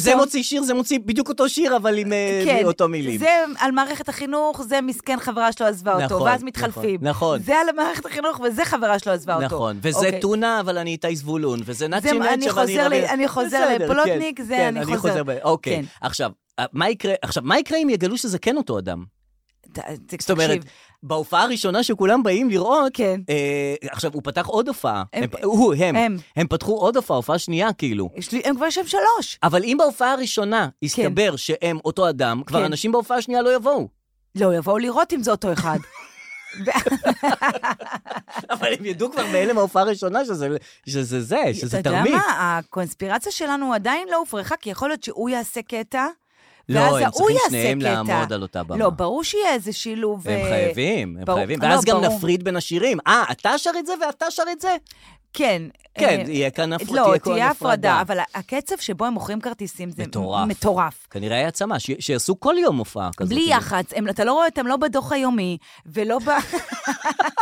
פתאום...
מוציא שיר, זה מוציא בדיוק אותו שיר, אבל עם אה, אותו מילים.
כן, זה על מערכת החינוך, זה מסכן חברה שלו עזבה אותו,
נכון,
ואז
נכון,
מתחלפים.
נכון.
זה על מערכת החינוך, וזה חברה שלו עזבה אותו.
נכון, וזה
אוקיי.
טונה, אבל אני איתי זבולון, וזה
זה-
נאצ'י נאצ'ה,
אני חוזר
רבי-
ל- אני חוזר
בסדר, כן,
לפלוטניק, זה
כן,
אני
אני
חוזר.
חוזר. ב- אוקיי,
כן.
עכשיו, אה, מה יקרה- עכשיו, מה יקרה אם יגלו שזה כן אותו אדם?
ת- ת-
זאת אומרת,
תקשיב,
בהופעה הראשונה שכולם באים לראות,
כן.
אה, עכשיו, הוא פתח עוד הופעה.
הם-
הם- הוא, הם.
הם.
הם פתחו עוד הופעה, הופעה שנייה, כאילו.
יש לי- הם כבר שם שלוש.
אבל אם בהופעה הראשונה יסתבר שהם אותו אדם, כבר
כן.
אנשים בהופעה השנייה לא יבואו.
לא, יבואו לראות אם זה אותו אחד.
אבל הם ידעו כבר בהלם ההופעה הראשונה שזה שזה זה, שזה
אתה יודע
תרמית.
מה? הקונספירציה שלנו עדיין לא הופרכה, כי יכול להיות שהוא יעשה קטע,
לא,
ואז
הם
ההוא
צריכים
יעשה
שניהם
קטע.
לעמוד על אותה במה.
לא, ברור שיהיה איזה שילוב.
הם
אה,
חייבים, הם
ברור-
חייבים.
לא,
ואז גם
ברור.
נפריד בין השירים. אה, אתה שר את זה ואתה שר את זה?
כן.
כן,
אה,
יהיה כאן הפרדה.
לא, תהיה הפרדה, אבל הקצב שבו הם מוכרים כרטיסים זה
מטורף.
מטורף.
כנראה היה צמא, ש- שיעשו כל יום הופעה כזאת. כאילו.
בלי יח"צ, הם- אתה לא רואה אותם לא בדוח היומי, ולא ב...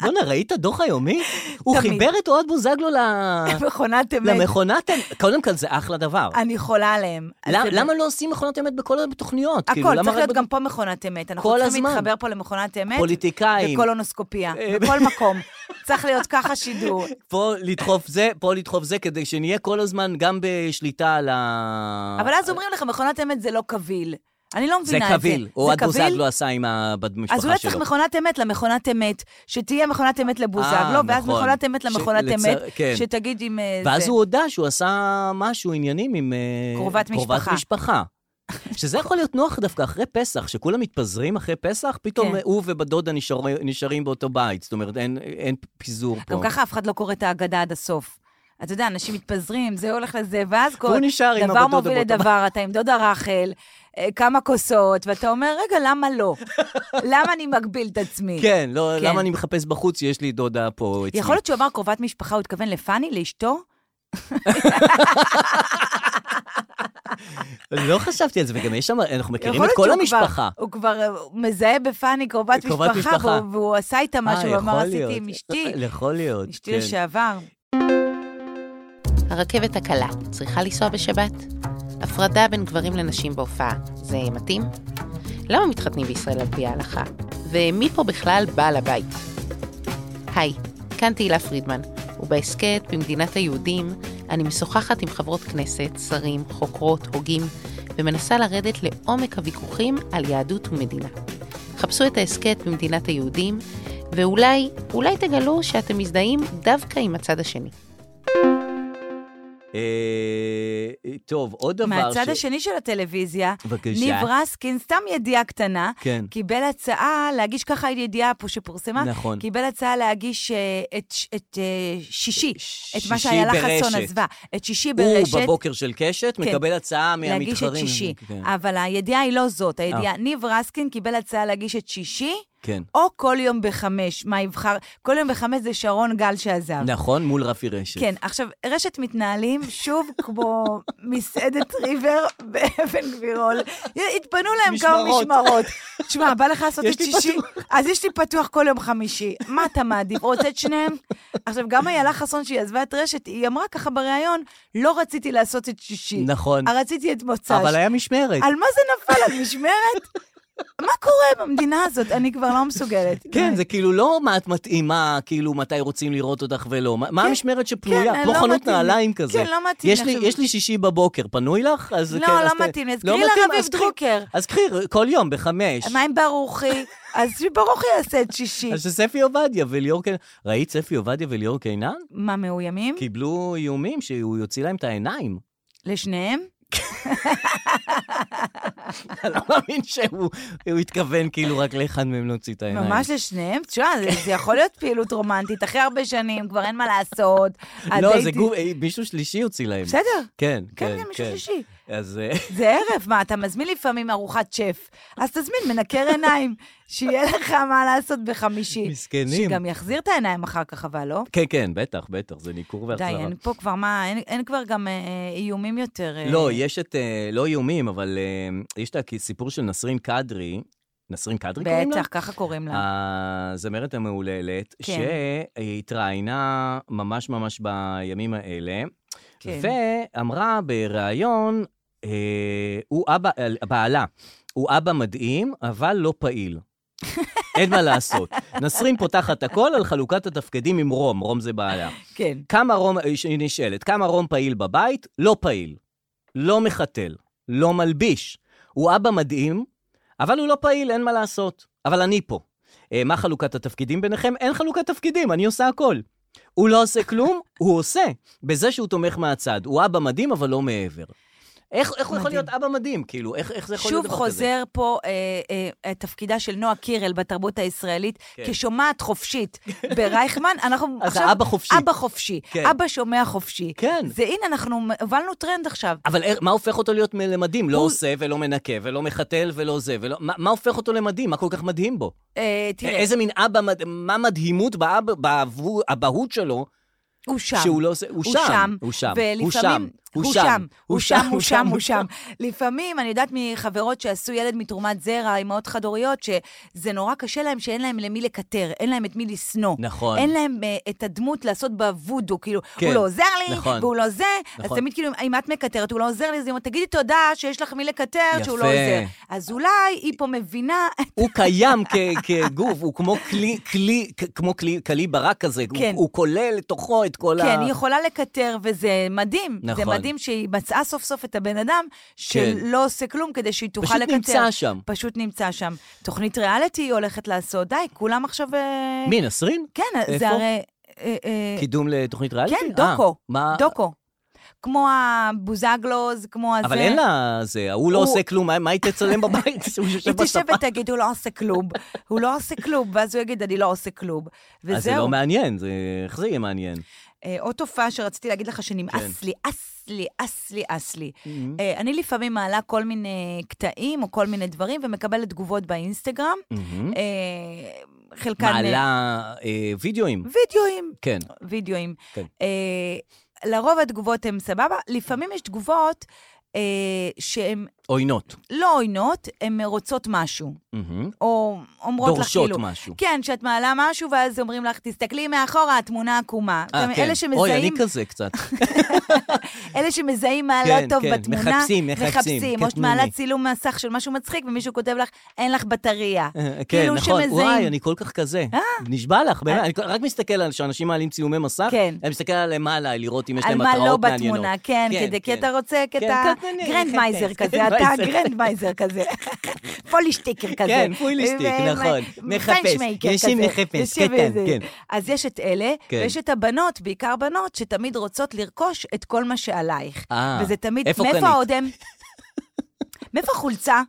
בואנה, ראית דוח היומי? הוא
תמיד.
חיבר את אוהד בוזגלו ל-
מכונת אמת.
למכונת... אמת. קודם כל, זה אחלה דבר.
אני חולה עליהם.
למ-
זה-
למה לא עושים מכונות אמת בכל התוכניות? כאילו,
הכל,
למה
צריך
רק
להיות
בג-
גם פה מכונת אמת. אנחנו
כל
צריכים
הזמן.
להתחבר פה למכונת אמת.
פוליטיקאים.
וקולונוסקופיה,
אה,
בכל מקום. צריך להיות ככה שידור.
פה לדחוף זה, פה לדחוף זה, כדי שנהיה כל הזמן גם בשליטה על ה...
אבל אז אומרים לך, מכונת אמת זה לא קביל. אני לא
אה. זה
מבינה את זה.
קביל. אוהד בוזגלו לא עשה עם הבת משפחה שלו.
אז אולי צריך מכונת אמת למכונת אמת, שתהיה מכונת אמת לבוזגלו,
אה,
ואז
נכון.
מכונת אמת
ש-
למכונת
לצ-
אמת,
כן.
שתגיד אם אה, זה...
ואז הוא הודה שהוא עשה משהו, עניינים עם... אה,
קרובת משפחה.
קרובת משפחה. שזה יכול להיות נוח דווקא אחרי פסח, שכולם מתפזרים אחרי פסח, פתאום
כן.
הוא ובת דודה נשאר, נשארים באותו בית. זאת אומרת, אין, אין פיזור פה.
גם ככה אף אחד לא קורא את ההגדה עד הסוף. אתה יודע, אנשים מתפזרים, זה הולך לזה, ואז כל...
והוא נשאר עם
דבר
הבת דודה
מוביל
באותו בית.
לדבר, אתה עם דודה רחל, אה, כמה כוסות, ואתה אומר, רגע, למה לא? למה אני מגביל את עצמי?
כן, לא,
כן.
למה אני מחפש בחוץ, יש לי דודה פה אצלי.
יכול להיות שהוא אמר קרובת משפחה, הוא התכוון לפאני, לאשתו?
לא חשבתי על זה, וגם יש שם, אנחנו מכירים
יכול
כן, את כל
להיות שהוא
המשפחה.
כבר, הוא כבר אה, הוא מזהה בפאני קרובת
קרובת
משפחה,
משפחה.
והוא, והוא עשה איתה משהו,
אה,
הוא אמר,
יכול
עשיתי
להיות.
עם אשתי,
יכול להיות,
אשתי
כן.
לשעבר.
הרכבת הקלה צריכה לנסוע בשבת? הפרדה בין גברים לנשים בהופעה, זה מתאים? למה מתחתנים בישראל על פי ההלכה? ומי פה בכלל בעל הבית? היי, כאן תהילה פרידמן, ובהסכת במדינת היהודים אני משוחחת עם חברות כנסת, שרים, חוקרות, הוגים, ומנסה לרדת לעומק הוויכוחים על יהדות ומדינה. חפשו את ההסכת במדינת היהודים, ואולי, אולי תגלו שאתם מזדהים דווקא עם הצד השני.
אה, טוב, עוד דבר
מהצד השני של הטלוויזיה,
בבקשה.
ניב רסקין, סתם ידיעה קטנה,
כן.
קיבל הצעה להגיש, ככה ידיעה פה שפורסמה,
נכון.
קיבל הצעה להגיש אה, את ש- את אה, שישי, את
שישי
מה שאיילה חסון
ברשת.
עזבה, את שישי
הוא
ברשת.
בבוקר של קשת,
כן.
מקבל הצעה מהמתחרים.
להגיש את שישי,
כן, אה.
אבל הידיעה היא לא זאת, הידיעה, ניב רסקין קיבל הצעה להגיש את שישי,
כן.
או כל יום בחמש, מה יבחר? כל יום בחמש זה שרון גל שעזב.
נכון, מול רפי רשת.
כן, עכשיו, רשת מתנהלים שוב כמו מסעדת ריבר באבן גבירול. התפנו להם כמה
משמרות.
משמרות. תשמע, בא לך לעשות
יש
את
לי
שישי? אז יש לי פתוח כל יום חמישי. מה אתה מעדיף? רוצה את שניהם? עכשיו, גם איילה חסון, שהיא עזבה את רשת, היא אמרה ככה בריאיון, לא רציתי לעשות את שישי.
נכון.
רציתי את מוצ"ש.
אבל היה משמרת.
על מה זה נפל? על משמרת? מה קורה במדינה הזאת? אני כבר לא מסוגלת.
כן, זה כאילו לא מה את מתאימה, כאילו מתי רוצים לראות אותך ולא. מה- מה המשמרת
כן,
שפנויה? כמו
לא
חנות
מתאים לי.
נעליים כזה.
כן, לא מתאים
יש
לי
לי.
עכשיו.
יש לי שישי בבוקר, פנוי לך? אז
לא,
כן, אז
לא
ת-
מתאים לי. אז
לא
קחי לה
מתאים,
רביב
אז קחי-
דרוקר.
אז קחי, כל יום, בחמש.
מה עם ברוכי? אז שברוכי יעשה את שישי.
אז שספי עובדיה וליאור קינן. ראית ספי עובדיה וליאור קינן?
מה, מאוימים?
קיבלו איומים שהוא יוציא להם את העיניים.
לשניהם?
אני לא מאמין שהוא הוא התכוון כאילו רק לאחד מהם להוציא את העיניים.
ממש לשניהם? תשמע, זה- זה יכול להיות פעילות רומנטית, אחרי הרבה שנים, כבר אין מה לעשות.
לא, זה
הדייטים-
גוף, אה, מישהו שלישי הוציא להם.
בסדר.
כן,
כן,
כן,
כן, מישהו שלישי.
אז אה,
זה ערב, מה, אתה מזמין לפעמים ארוחת שף. אז תזמין מנקר עיניים, שיהיה לך מה לעשות בחמישי.
מסכנים.
שגם יחזיר את העיניים אחר כך, אבל לא?
כן, כן, בטח, בטח, זה ניכור
די,
והחזרה.
אין פה כבר מה, אין- אין כבר גם אה, איומים יותר. אה,
לא, יש את, אה, לא איומים, אבל אה, יש את הסיפור של נסרין קדרי, נסרין קדרי קוראים לה?
בטח, ככה קוראים
אה,
לה.
הזמרת המהוללת,
כן.
שהתראיינה ממש ממש בימים האלה,
כן.
ואמרה בריאיון, אה, הוא אבא, על- בעלה, הוא אבא מדהים, אבל לא פעיל. אין מה לעשות. נסרין פותחת הכל על חלוקת התפקידים עם רום, רום זה בעלה.
כן.
כמה רום, היא נשאלת, כמה רום פעיל בבית? לא פעיל. לא מחתל. לא מלביש. הוא אבא מדהים, אבל הוא לא פעיל, אין מה לעשות. אבל אני פה. אה, מה חלוקת התפקידים ביניכם? אין חלוקת תפקידים, אני עושה הכל. הוא לא עושה כלום, הוא עושה. בזה שהוא תומך מהצד. הוא אבא מדהים, אבל לא מעבר. איך, איך הוא יכול
מדהים.
להיות אבא מדהים? כאילו, איך, איך זה יכול להיות
שוב
דבר כזה?
חוזר פה אה, אה, אה, תפקידה של נועה קירל בתרבות הישראלית
כן.
כשומעת חופשית. ברייכמן, אנחנו
אז
עכשיו...
האבא חופשי.
אבא חופשי.
כן.
אבא שומע חופשי.
כן.
זה הנה, אנחנו הובלנו טרנד עכשיו.
אבל איך- מה הופך אותו להיות מ- למדהים? לא
הוא-
עושה ולא מנקה ולא מחתל ולא זה ולא... מה, מה הופך אותו למדהים? מה כל כך מדהים בו?
אה, תראה,
איזה מין אבא, מד- מה מדהימות באבא- באבו- באבהות שלו,
הוא שם.
שהוא לא עושה... הוא שם. הוא שם. הוא שם.
ולפעמים... הוא שם, הוא שם, הוא שם, הוא שם. לפעמים, אני יודעת מחברות שעשו ילד מתרומת זרע, אימהות חד-הוריות, שזה נורא קשה להם שאין להם למי לקטר, אין להם את מי לשנוא.
נכון.
אין להם אה, את הדמות לעשות בוודו, כאילו,
כן,
הוא לא עוזר לי,
נכון.
והוא לא זה, אז
נכון.
תמיד כאילו, אם את מקטרת, הוא לא עוזר לי, אז היא אומרת, תגידי תודה שיש לך מי לקטר, שהוא לא
יפה.
עוזר. אז אולי היא פה מבינה...
הוא קיים כ- כגוף, הוא כמו כלי, כלי, כ- כמו כלי, כלי ברק כזה, הוא-
כן.
הוא כולל לתוכו את כל ה...
כן, היא יכולה לקטר, וזה מדהים. זה
נכון. כן.
מדהים שהיא מצאה סוף סוף את הבן אדם שלא לא עושה כלום כדי שהיא תוכל
פשוט
לקטר.
נמצא שם.
פשוט נמצא שם. תוכנית ריאליטי היא הולכת לעשות, די, כולם עכשיו... אה,
מי, נסרין?
כן,
איפה?
זה הרי... אה, אה,
קידום לתוכנית ריאליטי?
כן,
אה,
דוקו.
מה?
דוקו. כמו הבוזגלוז, כמו הזה.
אבל אין לה זה, ההוא לא
הוא-
עושה כלום, מה מה היא תצלם בבית? הוא יושב
היא תשב
בספה.
ותגיד, הוא לא עושה כלום. הוא לא עושה כלום, ואז הוא יגיד, אני לא עושה כלום. וזהו.
אז זה לא מעניין, זה- איך זה יהיה מעניין?
אה, עוד תופעה שרציתי להגיד לך שנמאס
כן.
לי, אס לי, אס לי, אס לי. אה, אני לפעמים מעלה כל מיני קטעים או כל מיני דברים ומקבלת תגובות באינסטגרם. אה, חלקן... אה,
Mm-hmm. מעלה אה, וידאוים.
וידאוים.
כן.
וידאוים.
כן.
אה, לרוב התגובות הן סבבה, לפעמים יש תגובות אה, שהן
עוינות.
לא עוינות, הן רוצות משהו.
מהמם.
או אומרות לך
דורשות
כאילו...
משהו.
כן, שאת מעלה משהו, ואז אומרים לך, תסתכלי מאחורה, התמונה עקומה.
אה,
גם
כן.
אלה שמזהים...
אוי, אני כזה קצת.
אלה שמזהים מה
כן,
לא טוב
כן,
בתמונה,
מחפשים, מחפשים, כן,
מחפשים, או שאת
קטנוני.
מעלה צילום מסך של משהו מצחיק, ומישהו כותב לך, אין לך בטריה.
אה, כן,
כאילו
נכון.
שמזהים. אה.
וואי, אני כל כך כזה. נשבע לך, באמת. אני רק מסתכל על שאנשים מעלים צילומי מסך,
כן.
אני מסתכל עליהם מעלה, לראות אם יש
על
להם
מה לא
מטרות מעניינות.
בתמונה, כן, כדי, כי אתה רוצה, כי
כן,
אתה
קטנוני,
גרנדמייזר
כן,
כזה, אתה
גרנדמייזר.
גרנדמייזר כזה, פולישטיקר כזה.
כן, פוילישטיק,
ו-
נכון. מחפש,
פנצ'מייקר
יש לי
כזה.
מחפש,
יש לי
קטן,
וזה.
כן.
אז יש את אלה,
כן.
ויש את הבנות, בעיקר בנות, שתמיד רוצות לרכוש את כל מה שעלייך.
אה,
וזה תמיד,
איפה קנית?
מאיפה האודם? מאיפה החולצה?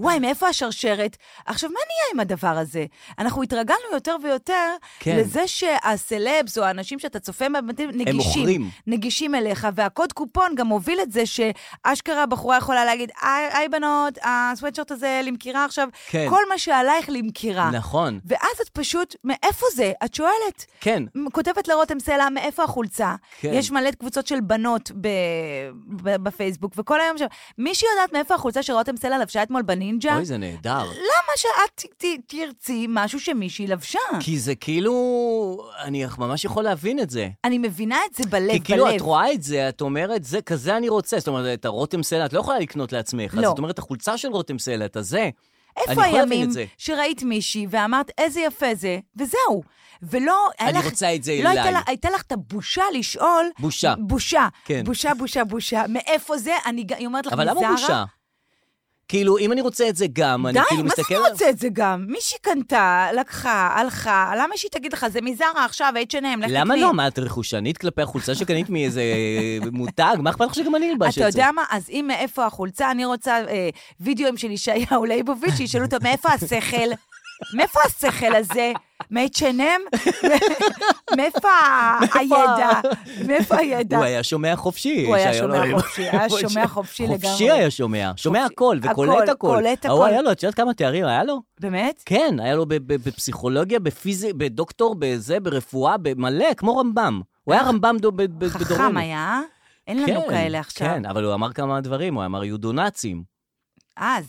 וואי, מאיפה השרשרת? עכשיו, מה נהיה עם הדבר הזה? אנחנו התרגלנו יותר ויותר
כן.
כן. לזה שהסלבס או האנשים שאתה צופה בהם נגישים.
מוכרים.
נגישים אליך, והקוד קופון גם מוביל את זה שאשכרה בחורה יכולה להגיד, היי היי בנות, הסוואטשרט הזה למכירה עכשיו,
כן.
כל מה שעלייך למכירה.
נכון.
ואז את פשוט, מאיפה זה? את שואלת.
כן.
מ- כותבת לרותם סלע, מאיפה החולצה?
כן.
יש מלא קבוצות של בנות ב... ב... בפייסבוק, וכל היום שם. מישהי יודעת מאיפה החולצה שרותם סלע לבשה אתמול בנינג'ה?
אוי, זה נהדר.
למה שאת ת... ת... תרצי משהו שמישהי לבשה?
כי זה כאילו, אני ממש יכול להבין את זה.
אני מבינה את זה בלב,
כי כאילו
בלב.
את רואה את זה, את אומרת, זה כזה אני רוצה. זאת אומרת, את הרותם סלע את לא יכולה לקנות לעצמך. אז
לא.
את אומרת, החולצה של רותם סלע, את הזה. אני
איפה
יכול להבין
הימים
את זה.
שראית מישהי ואמרת, איזה יפה זה, וזהו. ולא, היה
אני רוצה את זה
לא
אליי.
הייתה, לך- הייתה לך את הבושה לשאול...
בושה.
בושה.
כן.
בושה, בושה, בושה. מאיפה זה? אני ג- היא אומרת לך,
אבל
מזרה?
למה בושה? כאילו, אם אני רוצה את זה גם, אני
די,
כאילו
מה
מסתכל...
זאת אומרת את זה גם? מישהי קנתה, לקחה, הלכה, למה שהיא תגיד לך, זה מזרה עכשיו, H&M, לך
למה
תקני"?
לא? מה, את רכושנית כלפי החולצה שקנית מאיזה מותג? מה אכפת לך שגם אני אלבש את זה?
אתה יודע מה? אז אם מאיפה החולצה, אני רוצה אה, וידאוים של ישעיהו ליבוביץ', שישאלו אותו, מאיפה השכל? מאיפה השכל הזה? מ-H&M? מאיפה ה- הידע? מאיפה הידע?
הוא היה שומע חופשי.
הוא היה
ישעיהו
שומע
לוין.
חופשי, היה שומע
חופשי
חופשי לגמרי.
היה שומע, שומע
חופשי.
הכל, וקולט
הכל,
הכל.
קולט
ההוא
הכל.
היה לו, את יודעת כמה תארים היה לו?
באמת?
כן, היה לו ב- ב- בפסיכולוגיה, בפיזי, בדוקטור, בזה, ברפואה, במלא, כמו רמב"ם. הוא היה רמב"ם דו- ב- ב- בדורנו.
אה, חכם היה? אין לנו
כן,
כאלה עכשיו.
כן, אבל הוא אמר כמה דברים, הוא אמר יודונאצים.
אז,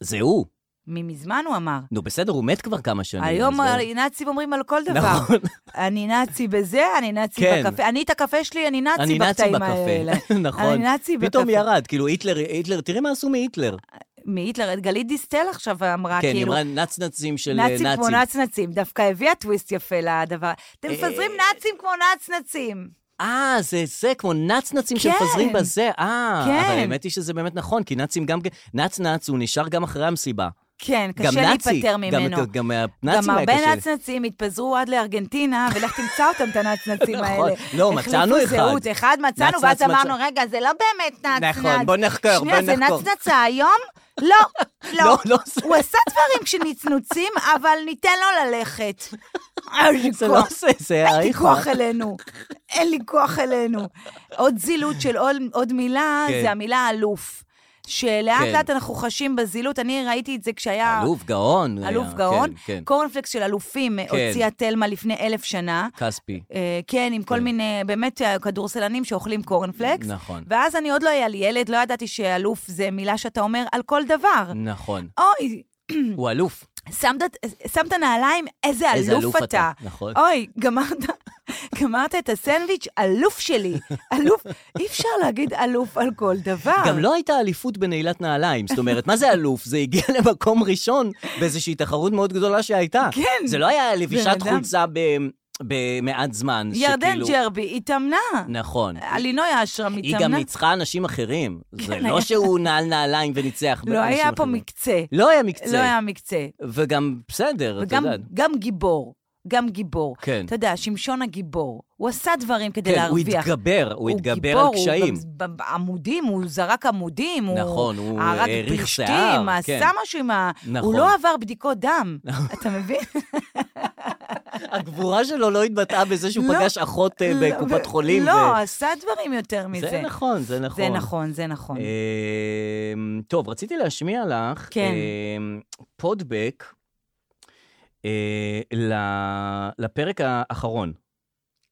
זה הוא.
ממזמן הוא אמר.
נו, בסדר, הוא מת כבר כמה שנים.
היום
אז
הרי נאצים אומרים על כל דבר.
נכון.
אני נאצי בזה, אני נאצי
כן.
בקפה. אני את הקפה שלי, אני נאצי
אני נאצי
בקטעים האלה.
בקפה, נכון.
אני נאצי בקפה.
פתאום ירד, כאילו היטלר, היטלר, תראי מה עשו מהיטלר.
מהיטלר, את גלית דיסטל עכשיו אמרה,
כן, היא
כאילו,
אמרה נצנצים של אה,
נאצים כמו
נאצים.
נצנצים, דווקא הביאה טוויסט יפה לדבר. אתם מפזרים נאצים כמו נצנצים.
אה, זה זה, כמו נצנצים
כן.
שמפזרים בזה. אה,
כן.
אבל האמת היא שזה באמת נכון, כי נאצים גם... נצנץ הוא נשאר גם אחרי המסיבה.
כן,
גם
קשה
נאצי,
להיפטר
גם-
ממנו.
גם
גם
הנאצים היה
הרבה
קשה.
נצנצים התפזרו עד לארגנטינה, ולך תמצא אותם, את הנצנצים
נכון.
האלה.
לא, מצאנו אחד.
החליפו זהות, אחד מצאנו,
נצנץ
ואז אמרנו,
מצא-
רגע, זה לא באמת נצנץ.
נכון, בוא נחקור,
שנייה,
בוא
זה
נחקור.
נצנצה היום? לא,
לא,
לא.
לא זה.
הוא עשה דברים כשנצנוצים, אבל ניתן לו ללכת.
זה לא זה, זה
אין לי
האיכו.
כוח אלינו, אין לי כוח אלינו. עוד זילות של עוד, עוד מילה,
כן.
זה המילה אלוף. שלאט
כן.
לאט אנחנו חשים בזילות, אני ראיתי את זה כשהיה...
אלוף גאון.
אלוף
היה,
גאון.
כן, כן.
קורנפלקס של אלופים הוציאה תלמה לפני אלף שנה.
כספי.
אה, כן, עם כל
כן.
מיני, באמת, אה, כדורסלנים שאוכלים קורנפלקס.
נכון.
ואז אני עוד לא היה לי ילד, לא ידעתי שאלוף זה מילה שאתה אומר על כל דבר.
נכון.
אוי,
הוא אלוף.
שמת, שמת נעליים, איזה אלוף,
איזה אלוף אתה. נכון.
אוי, גמרת, גמרת את הסנדוויץ', אלוף שלי. אלוף, אי אפשר להגיד אלוף על כל דבר.
גם לא הייתה אליפות בנעילת נעליים. זאת אומרת, מה זה אלוף? זה הגיע למקום ראשון באיזושהי תחרות מאוד גדולה שהייתה.
כן.
זה לא היה לבישת
בן אדם.
חולצה ב- במעט זמן.
ירדן
שכאילו-
ג'רבי התאמנה.
נכון.
אלינוי אשרם
היא
התאמנה.
גם ניצחה אנשים אחרים. זה
כן,
לא
היה-
שהוא נעל נעליים וניצח
לא
אנשים
היה פה
אחרים.
מקצה.
לא היה
לא
מקצה.
היה מקצה.
וגם בסדר, אתה
וגם
יודע.
גם גיבור. גם גיבור.
כן.
אתה יודע, שמשון הגיבור. הוא עשה דברים כדי
כן, הוא
להרוויח.
התגבר, הוא התגבר על קשיים.
הוא גיבור, הוא גם עמודים, הוא זרק עמודים,
נכון, הוא
הרג
האריך
פלשתים,
שיער, כן.
עשה משהו עם ה...
נכון.
הוא לא עבר בדיקות דם, אתה מבין?
הגבורה שלו לא התבטאה בזה שהוא
לא,
פגש אחות אה,
לא,
בקופת
ו-
חולים.
לא,
ו-
עשה דברים יותר מזה.
זה נכון, זה נכון. אה,
זה נכון, זה נכון.
אמ, טוב, רציתי להשמיע לך
כן.
אמ, פודבק אה, ל- לפרק האחרון.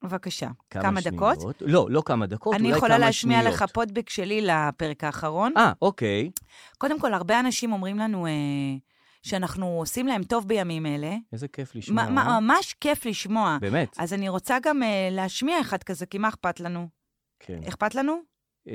בבקשה. כמה דקות?
שניות. לא, לא כמה דקות, אולי
אני
כמה שניות.
יכולה להשמיע לך פודבק שלי לפרק האחרון.
אה, אוקיי.
קודם כל, הרבה אנשים אומרים לנו אה, שאנחנו עושים להם טוב בימים אלה.
איזה כיף לשמוע.
מה- מה- ממש כיף לשמוע.
באמת.
אז אני רוצה גם אה, להשמיע אחד כזה, כי מה אכפת לנו?
כן.
אכפת לנו?
אה,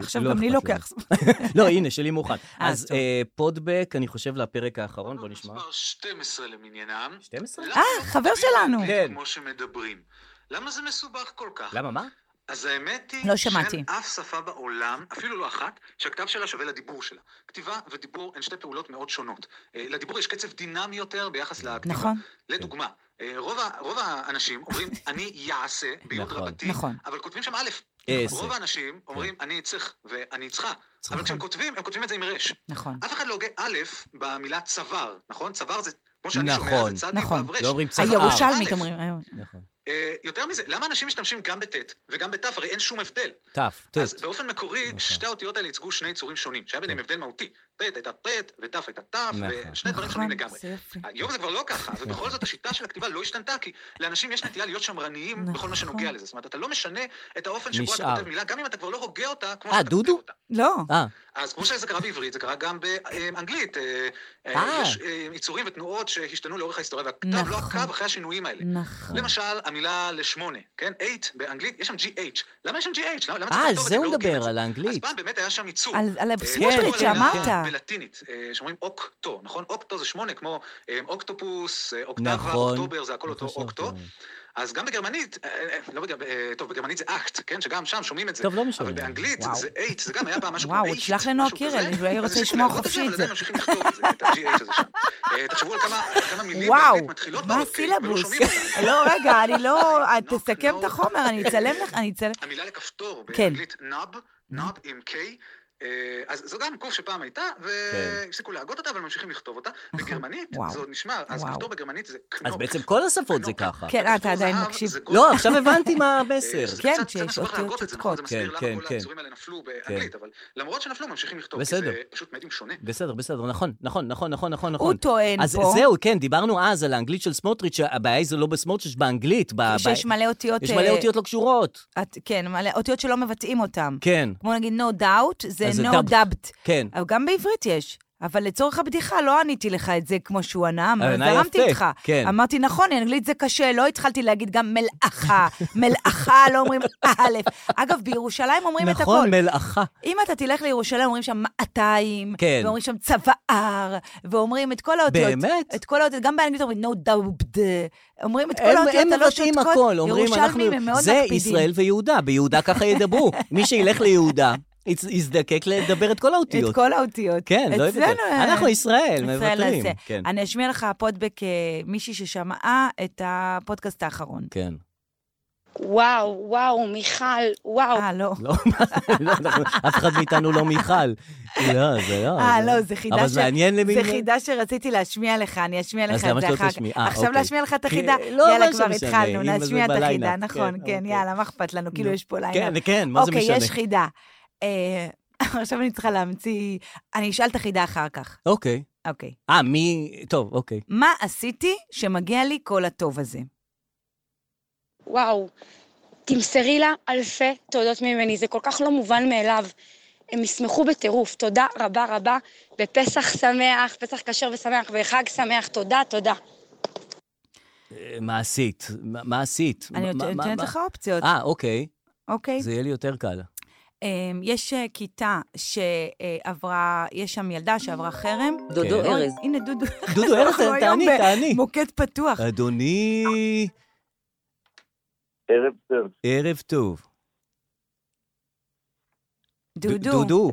עכשיו
לא
גם לי
אכפת
לוקח זמן.
לנו. לא, הנה, שלי מאוחד.
אה,
אז
טוב.
אה, פודבק, אני חושב, לפרק האחרון, נכון? בוא נשמע.
מספר 12 למניינם.
12?
למה
אה, חבר שלנו.
כן.
מדברים כמו שמדברים. למה זה מסובך כל כך?
למה, מה?
אז האמת היא...
לא שמעתי.
שאין אף שפה בעולם, אפילו לא אחת, שהכתב שלה שווה לדיבור שלה. כתיבה ודיבור הן שתי פעולות מאוד שונות. אה, לדיבור יש קצב דינמי יותר ביחס לכתיבה.
נכון.
לדוגמה, אה, רוב ה- רוב האנשים אומרים, אני יעשה, ביוד
נכון. כן.
רבתי,
נכון.
אבל כותבים שם א'.
עשר.
רוב האנשים אומרים, אני אצליח ואני אצחה. אבל
נכון.
כשהם כותבים, הם כותבים את זה עם ר'.
נכון.
אף אחד לא הוגה א' במילה צוואר, נכון? צוואר זה, כמו שאני
נכון,
שומע, זה צדיק
נכון.
ואברש.
לא אומרים צוואר.
הירושלמית
א'.
אומרים. אה, היום.
נכון.
אה, יותר מזה, למה אנשים משתמשים גם בט' וגם בת', הרי אין שום הבדל.
טף,
אז
טוט.
באופן מקורי,
נכון.
שתי האותיות האלה ייצגו שני צורים שונים, שהיה ביניהם הבדל מהותי. ט' הייתה ט' ות' הייתה ת',
נכון.
ושני דברים שונים לגמרי.
זה יופי.
היום זה כבר לא ככה, ובכל זאת השיטה של הכתיבה לא השתנתה, כי לאנשים יש נטייה להיות שמרניים בכל מה שנוגע
נכון.
לזה. זאת אומרת, אתה לא משנה את האופן שבו אתה
נשאר.
כותב מילה, גם אם אתה כבר לא הוגה אותה כמו
אה,
שאתה כותב
דודו?
אותה.
לא.
אה,
אז כמו שזה קרה בעברית, זה קרה גם באנגלית. אה, אה,
אה.
יש אה, יצורים ותנועות שהשתנו לאורך ההיסטוריה, והכתב
נכון.
לא עקב אחרי השינויים האלה.
נכון.
למשל, המילה לשמונה, כן? 8 באנגלית, יש שם GH. למה יש שם GH? למה למה
אה, על
צריך לכתוב את
זה
לא
הוא
הוגים את
מדבר,
זה?
על
אז
האנגלית.
פעם באמת היה שם ייצור.
על- על
אה,
כן,
הסמוטריץ'
יש פה מילה
שאמרת.
בלטינית, אה, שאומרים אוקטו, נכון? אוקטו זה שמונה, כמו אה, אוקטופוס, אה, אוקטבה,
נכון.
אוקטובר, זה הכל אותו
נכון,
אוקטו.
נכון.
אז גם בגרמנית, אה, אה, לא בגרמנית, טוב, בגרמנית זה אקט, כן? שגם שם שומעים את זה.
טוב, לא משנה.
אבל באנגלית
וואו.
זה 8, זה גם היה פעם משהו
כן. וואו,
כמו 8,
תשלח לנועה
משהו
קירל,
כזה.
אני רוצה
אז
לשמוע
הפסיקו
חופשי
לעבוד
את
אבל
זה.
עדיין ממשיכים לכתוב את זה, את ה-GH הזה שם. אה, תחשבו על כמה כמה מילים
וואו,
באנגלית מתחילות
מה
באות, כן, ולא
הסילבוס?
שומעים אותן.
לא, רגע, אני לא... אה,
נוק,
תסכם
נוק.
את החומר, אני אצלם לך, אני אצלם...
המילה לכפתור
כן. Mm-hmm.
באנגלית נאב, נאב עם K. אה, אז זו גם קוף שפעם הייתה, והפסיקו להגות אותה, אבל ממשיכים לכתוב אותה. בגרמנית,
נכון. וואו.
זה עוד נשמע, אז
וואו.
כפתור בגרמנית זה קנופ.
אז בעצם כל השפות זה ככה.
כן, אה, אתה עדיין
זהב
מקשיב.
זה גול.
לא, עכשיו הבנתי מה
אה,
המסר.
שזה
כן,
קצת- קצת
שיש
מסובך
אותיות
להגות את זה, נכון? זה
שותקות.
כן,
מסביר למה
כן,
כל
כן.
היצורים האלה נפלו באנגלית,
כן.
אבל למרות שנפלו, ממשיכים לכתוב, כי
בסדר.
זה פשוט מדיום שונה.
בסדר, בסדר, נכון, נכון, נכון, נכון, נכון.
הוא
נכון.
טוען
אז
פה
זהו, כן, דיברנו אז על האנגלית של סמוטריץ', שהבעיה היא זה לא בסמוטריץ', באנגלית. ב- ב-
שיש מלא אותיות...
יש מלא
אה,
אותיות לא קשורות.
את- כן, מלא אותיות שלא מבטאים אותן.
כן,
כמו נגיד no doubt, זה
אז זה
no
doubt.
dubbed.
כן.
אבל גם בעברית יש. אבל לצורך הבדיחה לא עניתי לך את זה כמו שהוא ענה,
אבל אה, ענה
זרמתי
יפה,
איתך.
כן.
אמרתי, נכון, אנגלית זה קשה, לא התחלתי להגיד גם מלאכה. מלאכה, לא אומרים א'. אגב, בירושלים אומרים את
נכון,
הכל.
מלאכה.
אם אתה תלך לירושלים, אומרים שם מאתיים,
כן.
ואומרים שם צוואר, ואומרים את כל האותיות.
באמת?
את כל האותיות, גם באנגלית אומרים no doubt. אומרים את כל
הם
האותיות
הם
הלא
מבטאים
שותקות.
הכל, אומרים אנחנו...
ירושלמים הם מאוד
זה
מקפידים.
ישראל ויהודה, ביהודה ככה ידברו. מי שילך ליהודה, יצ- יזדקק לדבר את כל האותיות.
את כל האותיות.
כן, לא הבאתם.
אצלנו, אה,
אנחנו ישראל,
ישראל
מוותרים.
נעשה.
כן,
אני אשמיע לך פודבק אה, מישהי ששמעה את הפודקאסט האחרון.
כן.
וואו, וואו, מיכל, וואו.
אה, לא.
לא, מה זה, לא, אנחנו- אף אחד מאיתנו לא מיכל. לא, זה לא.
אה,
זה-
לא, זה חידה
אבל
ש-
זה מעניין למי...
זה חידה שרציתי להשמיע לך, אני אשמיע
אז
לך
למה
את זה
שלא
אחר כך.
תשמיעי? אה,
עכשיו
אוקיי.
להשמיע לך את החידה?
כן, לא,
יאללה,
מה זה
כבר
משנה,
התחלנו,
אם זה
נשמיע את
בליינאפ,
החידה,
כן,
נכון, כן,
אוקיי.
יאללה, מה אכפת לנו? כאילו יש פה לילה.
כן, כן, מה זה משנה?
אוקיי, יש חידה. אה, עכשיו אני צריכה להמציא... אני אשאל את החידה אחר כך.
אוקיי.
אוקיי.
אה, מי... טוב, אוקיי.
מה עשיתי שמגיע לי כל הטוב הזה?
וואו, תמסרי לה אלפי תודות ממני, זה כל כך לא מובן מאליו. הם ישמחו בטירוף, תודה רבה רבה, בפסח שמח, פסח כשר ושמח, וחג שמח, תודה, תודה.
אה, מה עשית? מה מה עשית?
אני
מה-
נות-
מה-
נותנת
מה-
לך אופציות,
אה, אוקיי.
אוקיי?
זה יהיה לי יותר קל.
אמ, יש אה, כיתה שעברה, יש שם ילדה שעברה חרם.
דודו
כן.
ארז,
הנה, דודו.
דודו ארז,
אנחנו היום
תעני,
ב-
תעני.
מוקד פתוח.
אה, אדוני,
ערב טוב.
ערב טוב. ד-
דודו,
דודו.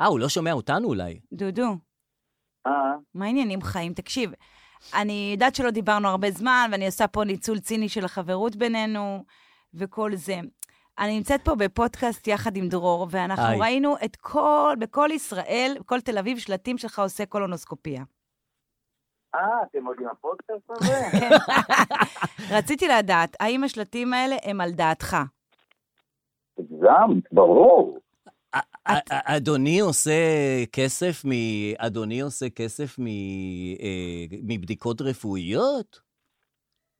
אה, הוא לא שומע אותנו אולי.
דודו,
אה,
מה העניינים חיים? תקשיב, אני יודעת שלא דיברנו הרבה זמן, ואני עושה פה ניצול ציני של החברות בינינו וכל זה. אני נמצאת פה בפודקאסט יחד עם דרור, ואנחנו
היי.
ראינו את כל, בכל ישראל, בכל תל אביב, שלטים שלך עושה קולונוסקופיה.
אה, אתם עוד עם הפודקאסט הזה?
רציתי לדעת, האם השלטים האלה הם על דעתך?
תגזם, ברור.
א- א- אדוני עושה כסף מ... אדוני עושה כסף מ... אה, מבדיקות רפואיות?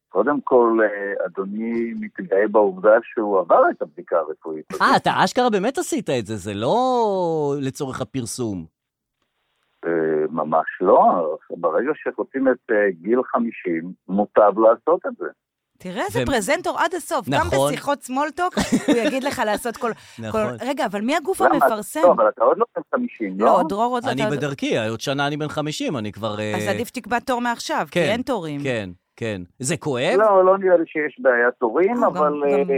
קודם כל, אה, אדוני מתגאה בעובדה שהוא עבר את הבדיקה הרפואית. הזאת.
אה, אתה אשכרה באמת עשית את זה, זה לא לצורך הפרסום.
אה, ממש לא. ברגע שחוצים את אה, גיל 50, מוטב לעשות את זה.
תראה איזה
ו-
פרזנטור עד הסוף, גם
נכון.
בשיחות סמולטוק, הוא יגיד לך לעשות כל... כל-
נכון.
רגע, אבל מי הגוף
למה?
המפרסם?
לא, אבל אתה עוד לא בן 50, לא?
כן. לא, דרור עוד לא...
אני
אתה-
בדרכי, עוד שנה אני בן 50, אני כבר... אה,
אז עדיף שתקבע תור מעכשיו, כי
כן,
אין תורים.
כן, כן. זה כואב?
לא, לא נראה לי שיש בעיית תורים,
לא,
אבל
גם-
אה,
גם-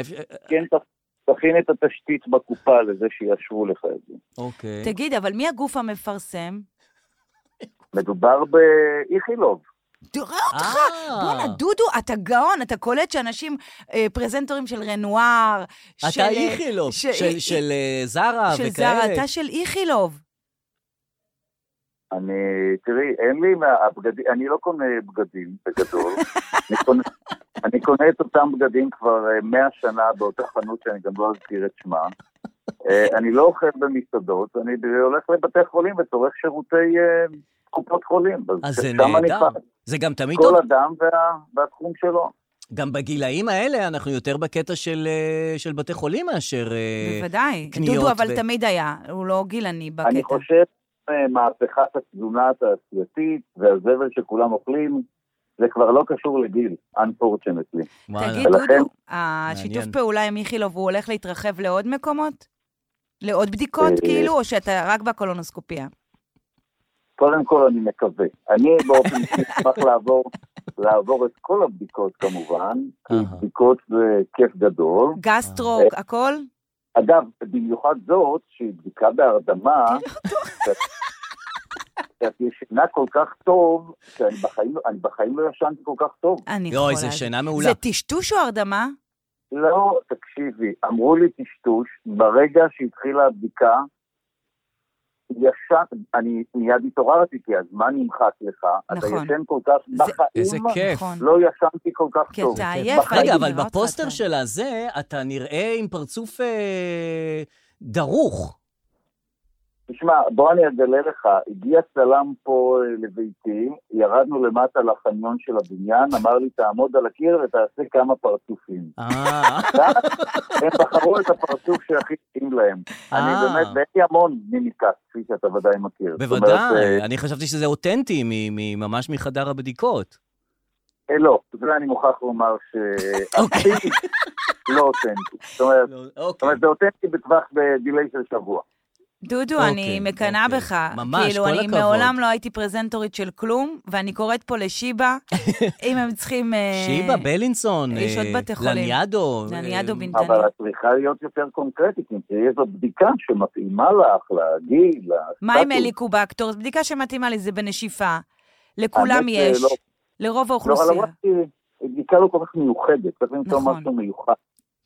אפ- אה,
כן, ת- תכין את התשתית בקופה לזה שיאשרו לך את זה.
אוקיי.
תגיד, אבל מי הגוף המפרסם?
מדובר באיכילוב.
תראה אותך!
אה,
בואנה, דודו, אתה גאון, אתה קולט שאנשים, אה, פרזנטורים של רנואר, של...
אתה איכילוב,
של-
של- של אה, זרה
של זרה,
וכאלה.
אתה של איכילוב.
אני, תראי, אין לי מהבגדים, אני לא קונה בגדים בגדול. אני, קונה, אני קונה את אותם בגדים כבר אה, 100 שנה באותה חנות שאני גם לא אזכיר את שמה. אה, אני לא אוכל במסעדות, אני ב- הולך לבתי חולים וצורך שירותי אה, קופות חולים.
אז זה
שם אני
נהדר.
חי.
זה גם תמיד טוב.
כל אדם וה, והתחום שלו.
גם בגילאים האלה אנחנו יותר בקטע של, אה, של בתי חולים מאשר... אה,
בוודאי.
קניות
דודו,
ו-
אבל תמיד היה, הוא לא גילני
אני
בקטע.
חושב אה, מהפכת התזונה התעשייתית והזבל שכולם אוכלים, זה כבר לא קשור לגיל, unfortunately.
וואלה.
תגיד,
ולכן-
דודו, השיתוף
מעניין.
פעולה עם איכילוב, הוא הולך להתרחב לעוד מקומות? לעוד בדיקות,
אה,
כאילו, או שאתה רק בקולונוסקופיה?
אה.
קודם כל אני מקווה. אני באופן אישי אשמח לעבור, לעבור את כל הבדיקות כמובן, כי
אהה.
בדיקות זה כיף גדול.
גסטרו,
אה.
הכל?
אגב, במיוחד זאת שהיא בדיקה בהרדמה, שאת- שאת ישנה כל כך טוב, שאני בחיים, אני בחיים לא ישנתי כל כך טוב.
אני יכולה...
אוי, זו שינה מעולה.
זה טשטוש או הרדמה?
לא, תקשיבי, אמרו לי טשטוש, ברגע שהתחילה הבדיקה, ישן, אני מיד התעוררתי, כי הזמן נמחק לך, אתה
נכון.
ישן כל כך,
זה-
בחיים
איזה כיף.
נכון.
לא ישנתי כל כך
כן,
כי
טוב. כן.
אתה
בחיים.
עייף,
רגע,
אני
אבל
נראה אותך
בפוסטר
אתה.
של הזה אתה נראה עם פרצוף אה, דרוך.
תשמע, בוא אני אגלה לך, הגיע צלם פה אה, לביתי, ירדנו למטה לחניון של הבניין, אמר לי, תעמוד על הקיר ותעשה כמה פרצופים.
אה,
הם בחרו את הפרצוף שהכי מתאים להם. אני
אה.
באמת, ואין לי המון מימיקה, כפי שאתה ודאי מכיר. זאת אומרת,
בוודאי.
אה,
אני חשבתי שזה אותנטי מ- מ- ממש מחדר הבדיקות.
אה, לא, זה אני מוכרח לומר ש... אה,
אוקיי.
לא אותנטי. זאת אומרת,
לא,
זאת
אוקיי.
אומרת, זה אותנטי בטווח בדיליי של שבוע.
דודו,
אוקיי,
אני מקנאה
אוקיי.
בך.
ממש,
כאילו,
כל
אני
הכבוד.
מעולם לא הייתי פרזנטורית של כלום, ואני קוראת פה לשיבא, אם הם צריכים... אה,
שיבא, בלינסון,
יש עוד
אה,
בתי חולים.
לניאדו.
לניאדו
אה,
בנתניה.
אבל את צריכה להיות יותר קונקרטית, אם תהיה איזו בדיקה שמתאימה לך, לגיל, לסטטוס.
מה עם הליקובקטור? זו בדיקה שמתאימה לי, זה בנשיפה. לכולם
האמת
יש,
שלא.
לרוב
לא, אבל
האוכלוסייה.
אמרתי, בדיקה לא כל כך מיוחדת, צריך למצוא
נכון.
משהו מיוחד.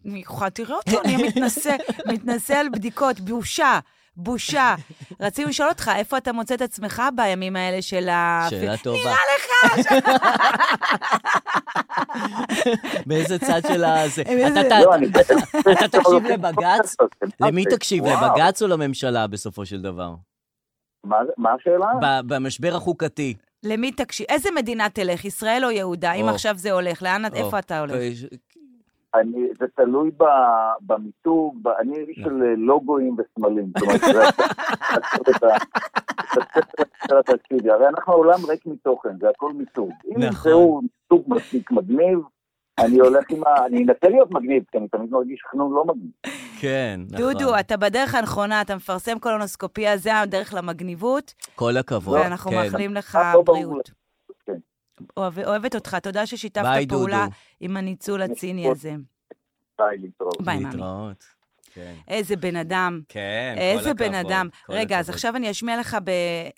מיוחד, תראה אותו, אני מתנשא, מתנשא על בדיקות, בושה, בושה. רצינו לשאול אותך, איפה אתה מוצא את עצמך בימים האלה של ה...
שאלה טובה. נראה לך. באיזה צד של ה... זה?
איזה-
אתה-
לא, אני
אתה-
בטח...
אתה תקשיב לבג"ץ? למי תקשיב,
וואו,
לבג"ץ או לממשלה בסופו של דבר?
מה- מה השאלה?
ב- במשבר החוקתי.
למי תקשיב? איזה מדינה תלך, ישראל או יהודה? אם
או.
עכשיו זה הולך, לאן, את-
או.
איפה אתה הולך?
אני- זה תלוי ב- במיתוג, ב- אני
לא.
איש של אה, לוגויים וסמלים. כלומר, זה- את ה- את הספר של התקציבי. הרי אנחנו העולם ריק מתוכן, זה הכל מיתוג. אם
נכון.
ימצאו מיתוג מספיק מגניב, אני הולך עם ה... אני אנסה להיות מגניב, כי אני תמיד מרגיש חנון לא מגניב.
כן, נכון.
דודו, אתה בדרך הנכונה, אתה מפרסם קולונוסקופיה, זה הדרך למגניבות,
כל הכבוד.
ואנחנו
כן.
מאחלים לך
אה, לא ברור
בריאות.
לי. כן.
אוהב- אוהבת אותך, תודה ששיתפת
ביי, דודו.
פעולה עם הניצול הציני הזה.
די, להתראות.
ביי, מאמי.
להתראות. כן.
איזה בן אדם.
כן, כל
איזה בן
הכבוד,
אדם.
כל
רגע, אז
הכבוד.
עכשיו אני אשמיע לך ב-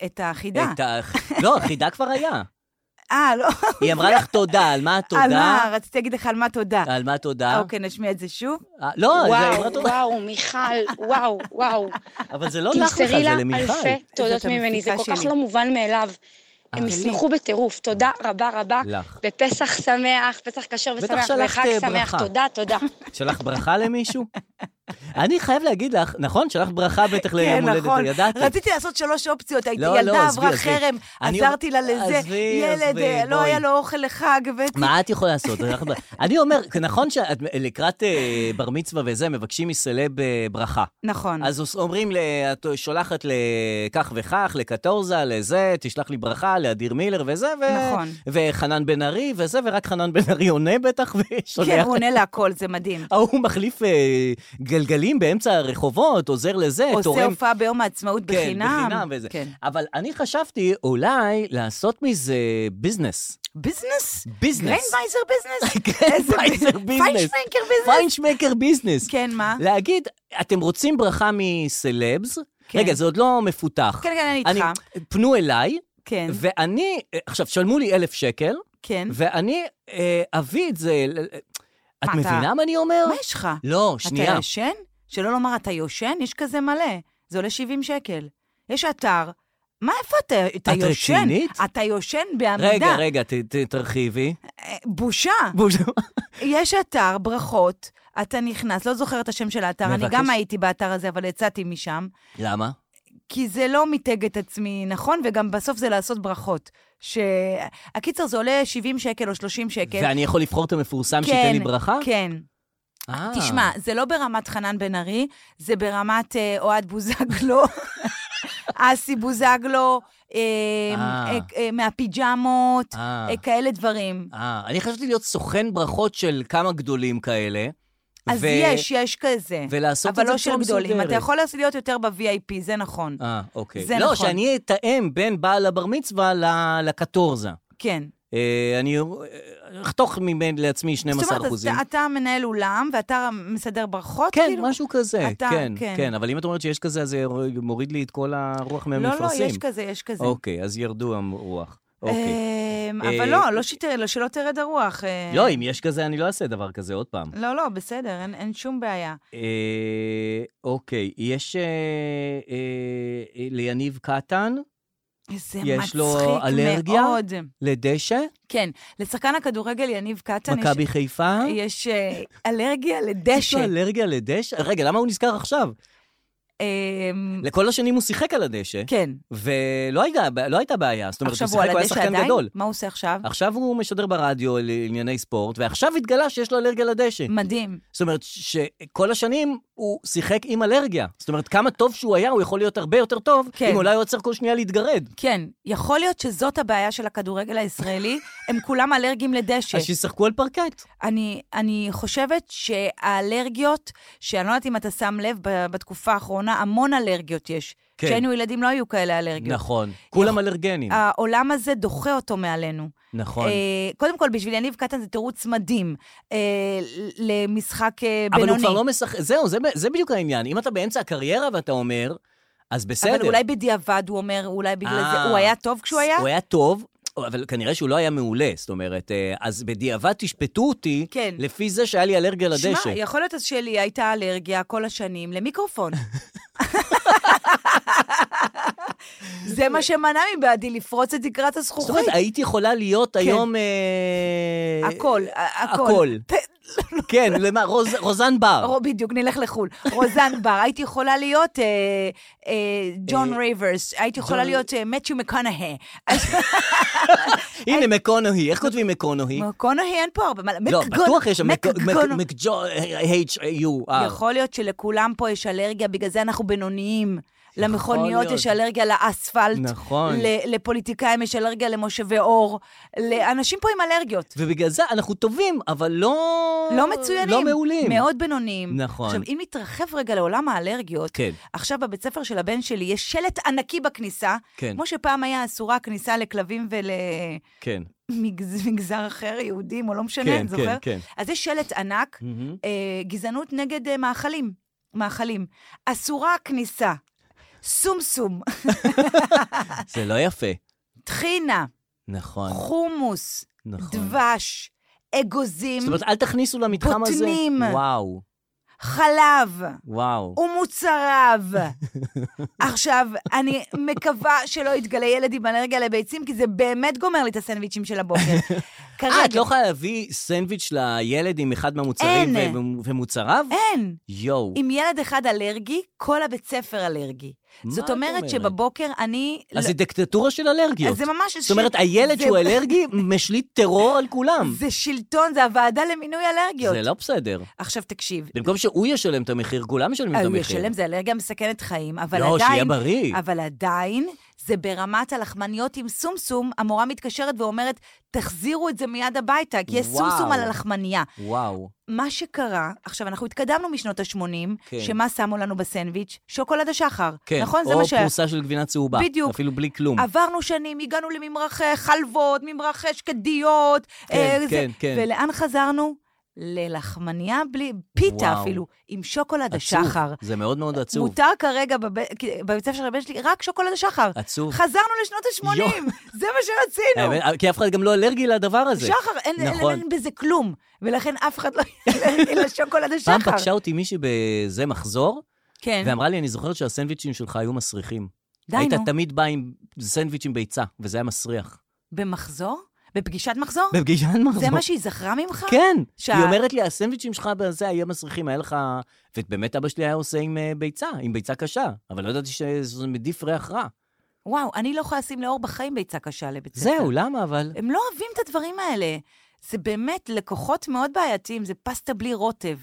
את החידה.
את ה- לא, חידה כבר היה.
אה, לא.
היא אמרה לך תודה, על מה
על מה?
התודה?
רציתי להגיד לך על מה תודה.
על מה תודה?
אוקיי, נשמיע את זה שוב.
אה, לא, זה היא אמרה
וואו,
תודה.
וואו, מיכל, וואו, וואו.
אבל זה לא לך
תמסרי
בכלל,
לה
זה למיכל.
אלפי תודות
זאת המפיקה
ממני, זה כל כך
שלי.
לא מובן מאליו. הם
אה,
ישמחו בטירוף, תודה רבה רבה.
לך.
בפסח שמח, פסח כשר
בטח
ושמח,
שלחת,
וחג
אה,
שמח,
ברכה.
תודה, תודה.
שלחת ברכה למישהו? אני חייב להגיד לך, נכון, שלחת ברכה בטח ליום הולדת, ידעתי.
כן, נכון. רציתי לעשות שלוש אופציות. הייתי
לא, לא,
ילדה,
עזבי,
עברה
עזבי.
חרם,
אני
עזרתי לה
אומר-
לזה,
עזבי,
ילד,
עזבי,
אה, לא
בואי.
היה לו אוכל לחג, הבאתי...
מה את יכולה לעשות? שלחת ברכה. אני אומר, נכון שאת לקראת אה, בר מצווה וזה, מבקשים מסלב אה, ברכה.
נכון.
אז עוש- אומרים, ל- את שולחת לכך וכך, לקטורזה, לזה, תשלח לי ברכה, לאדיר מילר וזה, ו...
נכון.
וחנן בן ארי וזה, ורק חנן בן ארי עונה בטח, ושולח.
כן, הוא עונה להכל, זה מדהים.
ההוא מחליף אה, גלגלים באמצע הרחובות, עוזר לזה,
עושה
תורם...
הופעה ביום העצמאות בחינם.
כן, בחינם וזה.
כן.
אבל אני חשבתי אולי לעשות מזה ביזנס.
ביזנס?
ביזנס.
גריינווייזר ביזנס? איזה
גריינדווייזר ביזנס.
פיינשמייקר ביזנס?
פיינשמקר ביזנס.
כן, מה?
להגיד, אתם רוצים ברכה מסלבס?
כן.
רגע, זה עוד לא מפותח.
כן, כן, אני איתך.
פנו אליי,
כן,
ואני, אה, עכשיו, שלמו לי אלף שקל,
כן.
ואני אה, אביא את זה... ל- ל- את
מה, אתה-
מבינה מה אני אומר?
מה יש לך?
לא,
אתה
שנייה.
ישן? שלא לומר אתה יושן? יש כזה מלא. זה עולה 70 שקל. יש אתר. מה, איפה אתה? אתה
את
יושן?
רצינית?
אתה יושן בעמידה.
רגע, רגע, ת- ת- תרחיבי.
אה, בושה.
בוז'ו.
יש אתר, ברכות, אתה נכנס, לא זוכר את השם של האתר, אני
מבקש.
גם הייתי באתר הזה, אבל יצאתי משם.
למה?
כי זה לא מיתג את עצמי נכון, וגם בסוף זה לעשות ברכות. ש... הקיצר, זה עולה 70 שקל או 30 שקל.
ואני יכול לבחור את המפורסם שייתן לי ברכה?
כן.
אה.
תשמע, זה לא ברמת חנן בן ארי, זה ברמת אה, אוהד בוזגלו, אסי בוזגלו, אה,
אה.
אה, אה, מהפיג'מות,
אה.
אה, כאלה דברים.
אה, אני חשבתי להיות סוכן ברכות של כמה גדולים כאלה.
אז
ו-
יש, יש כזה.
ולעשות
אבל
את זה
לא של
בצורה
גדולים. אתה
מסודרת.
יכול להיות יותר ב-VIP, זה נכון.
אה, אוקיי.
זה
לא,
נכון.
שאני אתאם בין בעל הבר מצווה ל- לקטורזה.
כן.
אה, אני אה, אחתוך מבין לעצמי 12
זאת אומרת, אז
אחוזים.
אתה- אתה מנהל אולם, ואתה מסדר ברכות,
כן,
כאילו?
משהו כזה,
אתה-
כן,
כן.
כן. אבל אם את אומרת שיש כזה, אז זה מוריד לי את כל הרוח
לא,
מהמפרשים.
לא, יש כזה, יש כזה.
אוקיי, אז ירדו הרוח. אוקיי.
אמ,
אה,
אבל לא, לא שת- לא, שלא תרד הרוח. אה,
לא, אם יש כזה, אני לא אעשה דבר כזה עוד פעם.
לא, לא, בסדר, אין- אין שום בעיה.
אה, אוקיי, יש אה, אה, אה, ליניב קטן,
איזה
יש
מצחיק
לו אלרגיה?
מאוד.
לדשא,
כן, לשחקן הכדורגל יניב קטן יש-
מכבי חיפה.
יש אה, אלרגיה
יש
לדשא.
לו אלרגיה לדשא? רגע, למה הוא נזכר עכשיו?
אמ,
לכל השנים הוא שיחק על הדשא,
כן.
ולא הייתה- לא הייתה בעיה. זאת אומרת,
עכשיו
הוא
הוא
שיחק,
על
הוא היה
הדשא
שחקן
עדיין?
גדול.
מה הוא עושה עכשיו?
עכשיו הוא משדר ברדיו לענייני ספורט, ועכשיו התגלה שיש לו אלרגיה לדשא.
מדהים.
זאת אומרת שכל השנים הוא שיחק עם אלרגיה. זאת אומרת, כמה טוב שהוא היה, הוא יכול להיות הרבה יותר טוב,
כן.
אם אולי הוא עוצר כל שנייה להתגרד.
כן, יכול להיות שזאת הבעיה של הכדורגל הישראלי, הם כולם אלרגיים לדשא.
אז שישחקו על פרקט.
אני, אני חושבת שהאלרגיות, שאני לא יודעת אם אתה שם לב, ב- בתקופה האחרונה, המון אלרגיות יש.
כן.
כשהיינו ילדים לא היו כאלה אלרגיות.
נכון. כולם אלרגנים.
העולם הזה דוחה אותו מעלינו.
נכון.
אה, קודם כל, בשביל יניב קטן זה תירוץ מדהים אה, ל- למשחק אה,
אבל
בינוני.
הוא כבר לא משחק, זהו, זה, ב- זה בדיוק העניין. אם אתה באמצע הקריירה ואתה אומר, אז בסדר.
אבל אולי בדיעבד, הוא אומר, אולי בגלל
אה,
זה, הוא היה טוב כשהוא היה?
הוא היה טוב, אבל כנראה שהוא לא היה מעולה. זאת אומרת, אה, אז בדיעבד תשפטו אותי,
כן.
לפי זה שהיה לי אלרגיה לדשא.
שמע, יכול להיות אז שלי הייתה אלרגיה כל השנים למיקרופון. זה מה שמנע מבעדי לפרוץ את תקרת
זאת
הזכוכית.
אומרת, היית יכולה להיות היום... אה,
כן. הכל, ה- הכל.
כן, למה? רוז- רוזן בר.
רו- בדיוק, נלך לחו"ל. רוזן בר, הייתי יכולה להיות אה, אה, ג'ון רייברס, הייתי יכולה להיות אה, מתיו מקונהה. אה,
הנה, מקונוהי. איך כותבים מקונוהי?
מקונהי אין פה הרבה מה...
לא,
מקגון-
בטוח יש שם
מקגון-
מקג'ו... אה, H-U-R.
יכול להיות שלכולם פה יש אלרגיה, בגלל זה אנחנו בינוניים. למכוניות
להיות.
יש אלרגיה לאספלט.
נכון.
ל- לפוליטיקאים יש אלרגיה למושבי אור. לאנשים פה עם אלרגיות.
ובגלל זה אנחנו טובים, אבל לא...
לא מצוינים.
לא מעולים.
מאוד בינוניים.
נכון.
עכשיו, אם נתרחב רגע לעולם האלרגיות,
כן.
עכשיו בבית ספר של הבן שלי יש שלט ענקי בכניסה,
כן.
כמו שפעם היה אסורה הכניסה לכלבים ול...
כן.
מגז- מגזר אחר, יהודים, או לא משנה,
כן,
אני זוכר?
כן, כן.
אז יש שלט ענק,
מהמם.
אה, גזענות נגד אה, מאכלים. מאכלים. אסורה הכניסה. סומסום,
זה לא יפה.
טחינה,
נכון,
חומוס,
נכון.
דבש, אגוזים,
זאת אומרת, אל תכניסו למתחם הזה.
בוטנים.
וואו,
חלב
וואו.
ומוצריו. עכשיו, אני מקווה שלא יתגלה ילד עם אלרגיה לביצים, כי זה באמת גומר לי את הסנדוויצ'ים של הבוקר.
אה, את
כרגע.
לא יכולה להביא סנדוויץ' לילד עם אחד מהמוצרים
אין.
ו- ומוצריו?
אין.
יואו.
אם ילד אחד אלרגי, כל הבית ספר אלרגי.
מה
זאת
את אומרת?
אומרת שבבוקר אני...
אז
לא-
זה דיקטטורה של אלרגיות.
אז זה ממש...
זאת אומרת,
ש-
הילד
זה-
שהוא אלרגי משליט טרור על כולם.
זה שלטון, זה הוועדה למינוי אלרגיות.
זה לא בסדר.
עכשיו תקשיב,
במקום שהוא ישלם את המחיר, כולם משלמים את
הוא
המחיר.
ישלם, זה אלרגיה מסכנת חיים, אבל
לא,
עדיין...
שיהיה בריא.
אבל עדיין, זה ברמת הלחמניות עם סומסום, המורה מתקשרת ואומרת, תחזירו את זה מיד הביתה, כי יש
וואו.
סומסום על הלחמנייה.
וואו.
מה שקרה, עכשיו, אנחנו התקדמנו משנות ה-80,
כן.
שמה שמו לנו בסנדוויץ'? שוקולד השחר.
כן.
נכון? זה
או
מה שהיה.
פרוסה של גבינה צהובה.
בדיוק. אה,
אפילו בלי כלום.
עברנו שנים, הגענו לממרח אה, חלבות, ממרח אה, שקדיות.
כן,
אה,
כן, כן.
ולאן חזרנו? ללחמניה בלי, פיתה
וואו.
אפילו, עם שוקולד
עצוב.
השחר.
זה מאוד מאוד עצוב.
מותר כרגע בב- כי- בבית ספר של הבן שלי רק שוקולד השחר.
עצוב.
חזרנו לשנות
יואו.
ה-80, זה מה שרצינו.
האמת, כי אף אחד גם לא אלרגי לדבר הזה.
שחר, אין- אין-
נכון.
אין בזה כלום. ולכן אף אחד לא ילך לשוקולד השחר.
פעם פגשה אותי מישהי באיזה מחזור,
כן,
ואמרה לי, אני זוכרת שהסנדוויצ'ים שלך היו מסריחים.
די
היית
נו.
תמיד בא עם סנדוויץ' עם ביצה, וזה היה מסריח.
במחזור? בפגישת מחזור?
בפגישת מחזור.
אה, זה מה שהיא זכרה ממך?
כן.
שה-
היא אומרת לי, הסנדוויצ'ים שלך בזה היו מסריחים, היה לך... ובאמת אבא שלי היה עושה עם אה, ביצה, עם ביצה קשה, אבל לא ידעתי שזה מדיף ריח רע.
וואו, אני לא יכולה לשים לאור בחיים ביצה קשה לבית ספר.
זהו, למה אבל?
הם לא אוהבים את הדברים האלה. זה באמת לקוחות מאוד בעייתיים, זה פסטה בלי רוטב.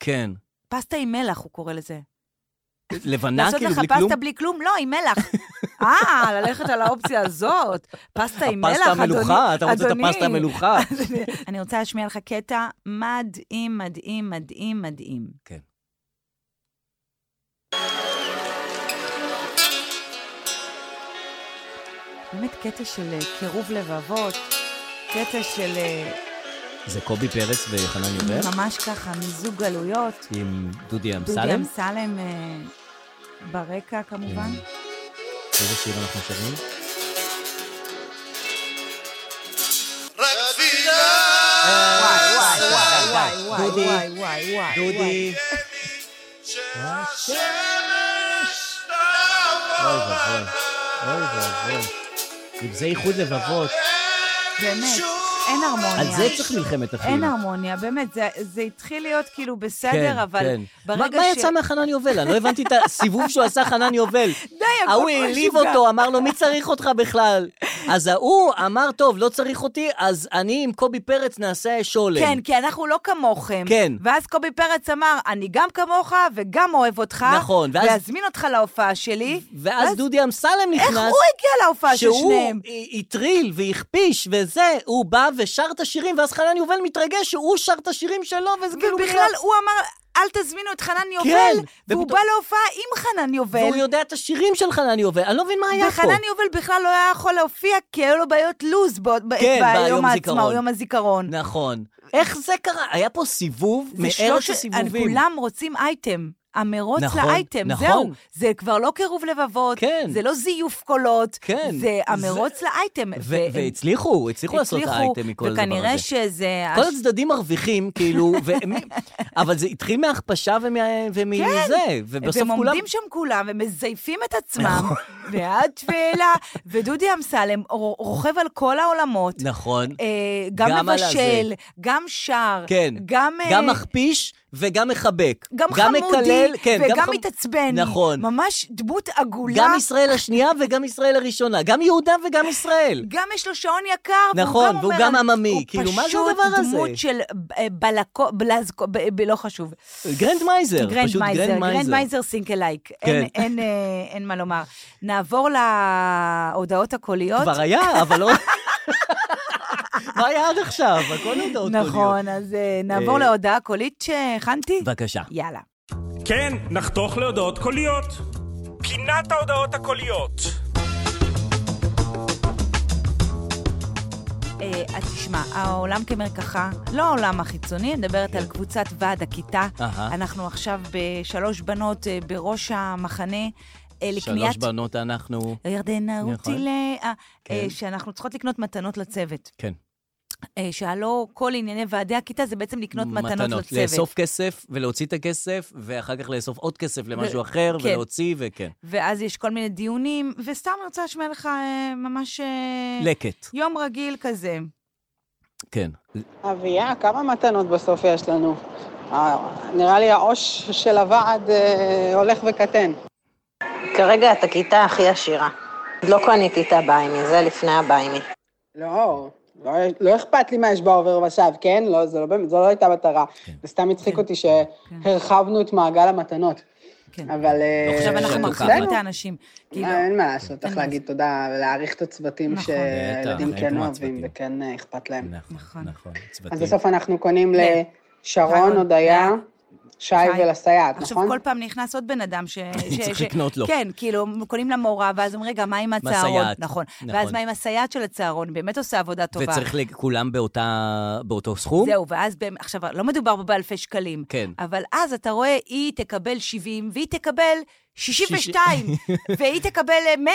כן.
פסטה עם מלח, הוא קורא לזה.
לבנה כאילו
לעשות
בלי
לך
כלום?
פסטה בלי כלום? לא, עם מלח. אה, ללכת על האופציה הזאת. פסטה עם מלח,
הפסטה
אדוני.
המלוכה, אתה רוצה את
אדוני.
הפסטה המלוכה.
אני רוצה להשמיע לך קטע מדהים, מדהים, מדהים, מדהים.
כן.
באמת קטע של אה, קירוב לבבות, קטע של אה,
זה קובי פרץ וחנן יובל,
ממש ככה מיזוג גלויות.
עם דודי
דודי
אמסלם.
אמסלם אה, ברקע כמובן.
כן. איזה שיר אנחנו שרים?
וואי וואי וואי וואי
דודי.
וואי וואי וואי. וואי.
דודי. אוי ואבוי, אוי ואבוי. אם זה איחוד לבבות,
באמת. אין הרמוניה.
על זה צריך מלחמת אחים.
אין הרמוניה, באמת, זה, זה התחיל להיות כאילו בסדר,
כן,
אבל
כן. מה,
ברגע
מה
ש...
יצא מהחנן יובל? אני לא הבנתי את הסיבוב שהוא עשה חנן יובל.
די, הכל
ההוא
כבר
העליב
משוגע.
אותו, אמר לו, מי צריך אותך בכלל? אז ההוא אמר, טוב, לא צריך אותי, אז אני עם קובי פרץ נעשה שולם.
כן, כי אנחנו לא כמוכם.
כן.
ואז קובי פרץ אמר, אני גם כמוך וגם אוהב אותך.
נכון, ואז-
ואזמין אותך להופעה שלי.
ואז דודי אמסלם נכנס.
איך הוא הגיע להופעה של
שהוא
שניהם?
הטריל והכפיש וזה, הוא בא ושר את השירים, ואז חנן יובל מתרגש שהוא שר את השירים שלו, וזה כאילו...
ובכלל,
נראה-
הוא אמר, אל תזמינו את חנן
כן,
יובל, והוא
ופתאום-
בא להופעה עם חנן יובל.
והוא יודע את השירים של חנן יובל, אני לא מבין מה היה פה.
וחנן יובל בכלל לא היה יכול להופיע, כי היו לו בעיות לוז ב- ב-
כן, ביום
ביום
הזיכרון.
העצמאות, יום הזיכרון.
נכון. איך זה קרה? היה פה סיבוב מארץ
ושלוש-
הסיבובים.
כולם רוצים אייטם. המרוץ
נכון,
לאייטם,
נכון.
זהו. זה כבר לא קירוב לבבות,
כן.
זה לא זיוף קולות,
כן.
זה המרוץ לאייטם.
ו-
והם
והצליחו, הצליחו לעשות
הצליחו,
אייטם מכל הדבר הזה.
וכנראה שזה...
כל
הש-
הצדדים מרוויחים, כאילו, ו- מי- אבל זה התחיל מההכפשה ומה- ומזה, ובסוף
כן, והם
כולם... נכון.
עומדים שם כולם ומזייפים את עצמם, ועד תפילה, ודודי אמסלם ר- רוכב על כל העולמות.
נכון.
אה, גם,
גם על
מבשל, גם שר,
כן.
גם... אה,
גם מכפיש וגם מחבק.
גם חמודי,
מקלל, כן,
וגם
חמ-
מתעצבן.
נכון.
ממש דמות עגולה.
גם ישראל השנייה וגם ישראל הראשונה. גם יהודה וגם ישראל.
גם יש לו שעון יקר,
נכון,
והוא גם
והוא
אומר...
גם
אני-
עממי. כאילו, מה זה הדבר
הוא
הזה?
פשוט דמות של אה, בלקו... בלזקו... ב- ב- לא חשוב.
גרנדמייזר. פשוט
גרנדמייזר,
גרנדמייזר.
גרנדמייזר סינקלייק.
כן.
אין אה, אין מה לומר. נעבור להודעות הקוליות.
כבר היה, אבל לא... מה היה עד עכשיו? הכל הודעות קוליות.
נכון, אז אה, נעבור
אה,
להודעה קולית שהכנתי.
בבקשה.
יאללה.
כן, נחתוך להודעות קוליות. פינת ההודעות הקוליות.
אה, אז תשמע, העולם כמרקחה, לא העולם החיצוני, אני מדברת על קבוצת ועד הכיתה.
אהה.
אנחנו עכשיו בשלוש בנות אה, בראש המחנה אה,
שלוש
לקניית...
בנות אנחנו...
לא ירדנה
נכון.
רוטילה, אה, אה,
כן.
שאנחנו צריכות לקנות מתנות לצוות.
כן.
אה, שהלא כל ענייני ועדי הכיתה זה בעצם לקנות מתנות לצוות.
לאסוף כסף ולהוציא את הכסף, ואחר כך לאסוף עוד כסף למשהו
ו-
אחר,
כן.
ולהוציא, וכן.
ואז יש כל מיני דיונים, וסתם אני רוצה להשמיע לך אה, ממש... אה,
לקט,
יום רגיל כזה.
כן.
אביה, כמה מתנות בסוף יש לנו? אה, נראה לי העו"ש של הוועד אה, הולך וקטן.
כרגע את הכיתה הכי עשירה. עוד לא קניתי את הביימי, זה לפני הביימי.
לא, לא, לא אכפת לי מה יש בעובר ושב, כן? לא, זה לא באמת, זו לא הייתה מטרה.
כן.
זה סתם הצחיק אותי שהרחבנו את מעגל המתנות.
כן.
אבל... אה,
עכשיו אנחנו
שתו
מרחיבים
בסדר.
את האנשים. כאילו,
אה, אין מה לעשות,
אין
צריך
מה
להגיד תודה ולהעריך את הצוותים
נכון.
שהילדים
בטח, אין
כן
כמו
אוהבים
הצוותים.
וכן אה, אכפת להם.
נכון,
נכון.
נכון.
אז
צוותים.
בסוף אנחנו קונים
כן.
לשרון, הודיה, שי
שי.
ולסייעת,
עכשיו
נכון?
כל פעם נכנס עוד בן אדם ש... ש-
צריך
ש-
לקנות לו.
כן, כאילו, קונים למורה, ואז אומרים, רגע, מה עם הצהרון?
הסייעת.
נכון.
נכון.
ואז מה עם הסייעת של הצהרון? באמת עושה עבודה טובה.
וצריך לג- כולם באותה- באותו סכום?
זהו, ואז, באמת- עכשיו, לא מדובר פה באלפי שקלים.
כן.
אבל אז אתה רואה, היא תקבל 70, והיא תקבל 62, והיא תקבל אה, 100,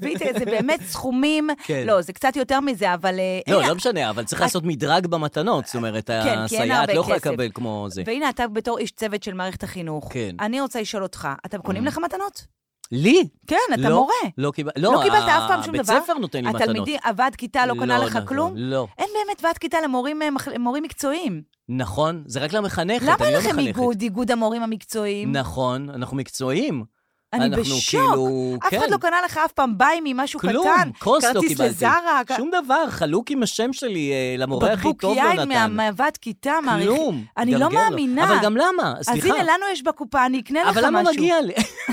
והיא ת- זה באמת סכומים.
כן.
לא, זה קצת יותר מזה, אבל... אה,
לא,
הנה,
לא משנה, אבל צריך לעשות מדרג במתנות. זאת אומרת,
אה, כן, כי אין
הסייעת
הרבה
לא יכולה
כסף.
לקבל כמו זה.
והנה, אתה בתור איש צוות של מערכת החינוך.
כן.
אני רוצה לשאול אותך, אתם קונים לך מתנות?
לי?
כן, אתה
לא,
מורה.
לא קיבל-
לא
לא,
קיבלת אף פעם שום דבר?
הבית ספר נותן לי מתנות.
התלמידים, הוועד כיתה לא קנה לך
נכון,
כלום?
לא.
אין באמת ועד כיתה למורים אה, מח- מורים מקצועיים.
נכון, זה רק למחנכת, אני לא
למה אין
מחנכת.
לכם איגוד, איגוד המורים המקצועיים?
נכון, אנחנו מקצועיים.
אני
אנחנו
בשוק.
כאילו,
אף אחד
כן.
לא קנה לך אף פעם ביי ממשהו קטן.
כלום, כוס לא קיבלתי.
כרטיס לזרה, כ-
שום דבר, חלוק עם השם שלי אה, למורה הכי
בקבוק
טוב לא
יין
נתן.
מהוועד כיתה, מעריך.
כלום.
אני
גם
לא
גר
מאמינה.
אבל גם למה?
אז
סליחה.
הנה, לנו יש בקופה, אני אקנה לך משהו.
אבל למה מגיע לי?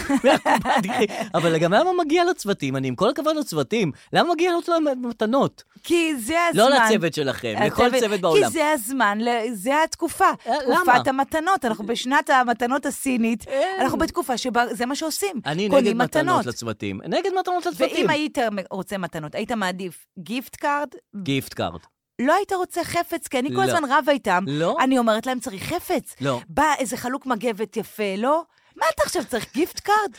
מהקופה, תראי, אבל גם למה מגיע לצוותים? אני עם כל הכבוד לצוותים, למה מגיע לו מתנות?
כי זה הזמן.
לא לצוות שלכם, לכל
הצוות-
צוות בעולם.
כי זה הזמן, ל- זה התקופה.
אה, למה?
תקופת המתנות, אנחנו בשנת המתנות הסינית, אנחנו בתקופה שבה זה מה שעושים.
אה. אני
קונים
נגד מתנות לצוותים. נגד מתנות לצוותים.
ואם היית מ- רוצה מתנות, היית מעדיף גיפט קארד?
גיפט קארד.
לא היית רוצה חפץ, כי אני כל
לא.
הזמן רבה איתם.
לא.
אני אומרת להם, צריך חפץ.
לא.
בא איזה חלוק מגבת יפה, לא? מה אתה עכשיו צריך גיפט קארד?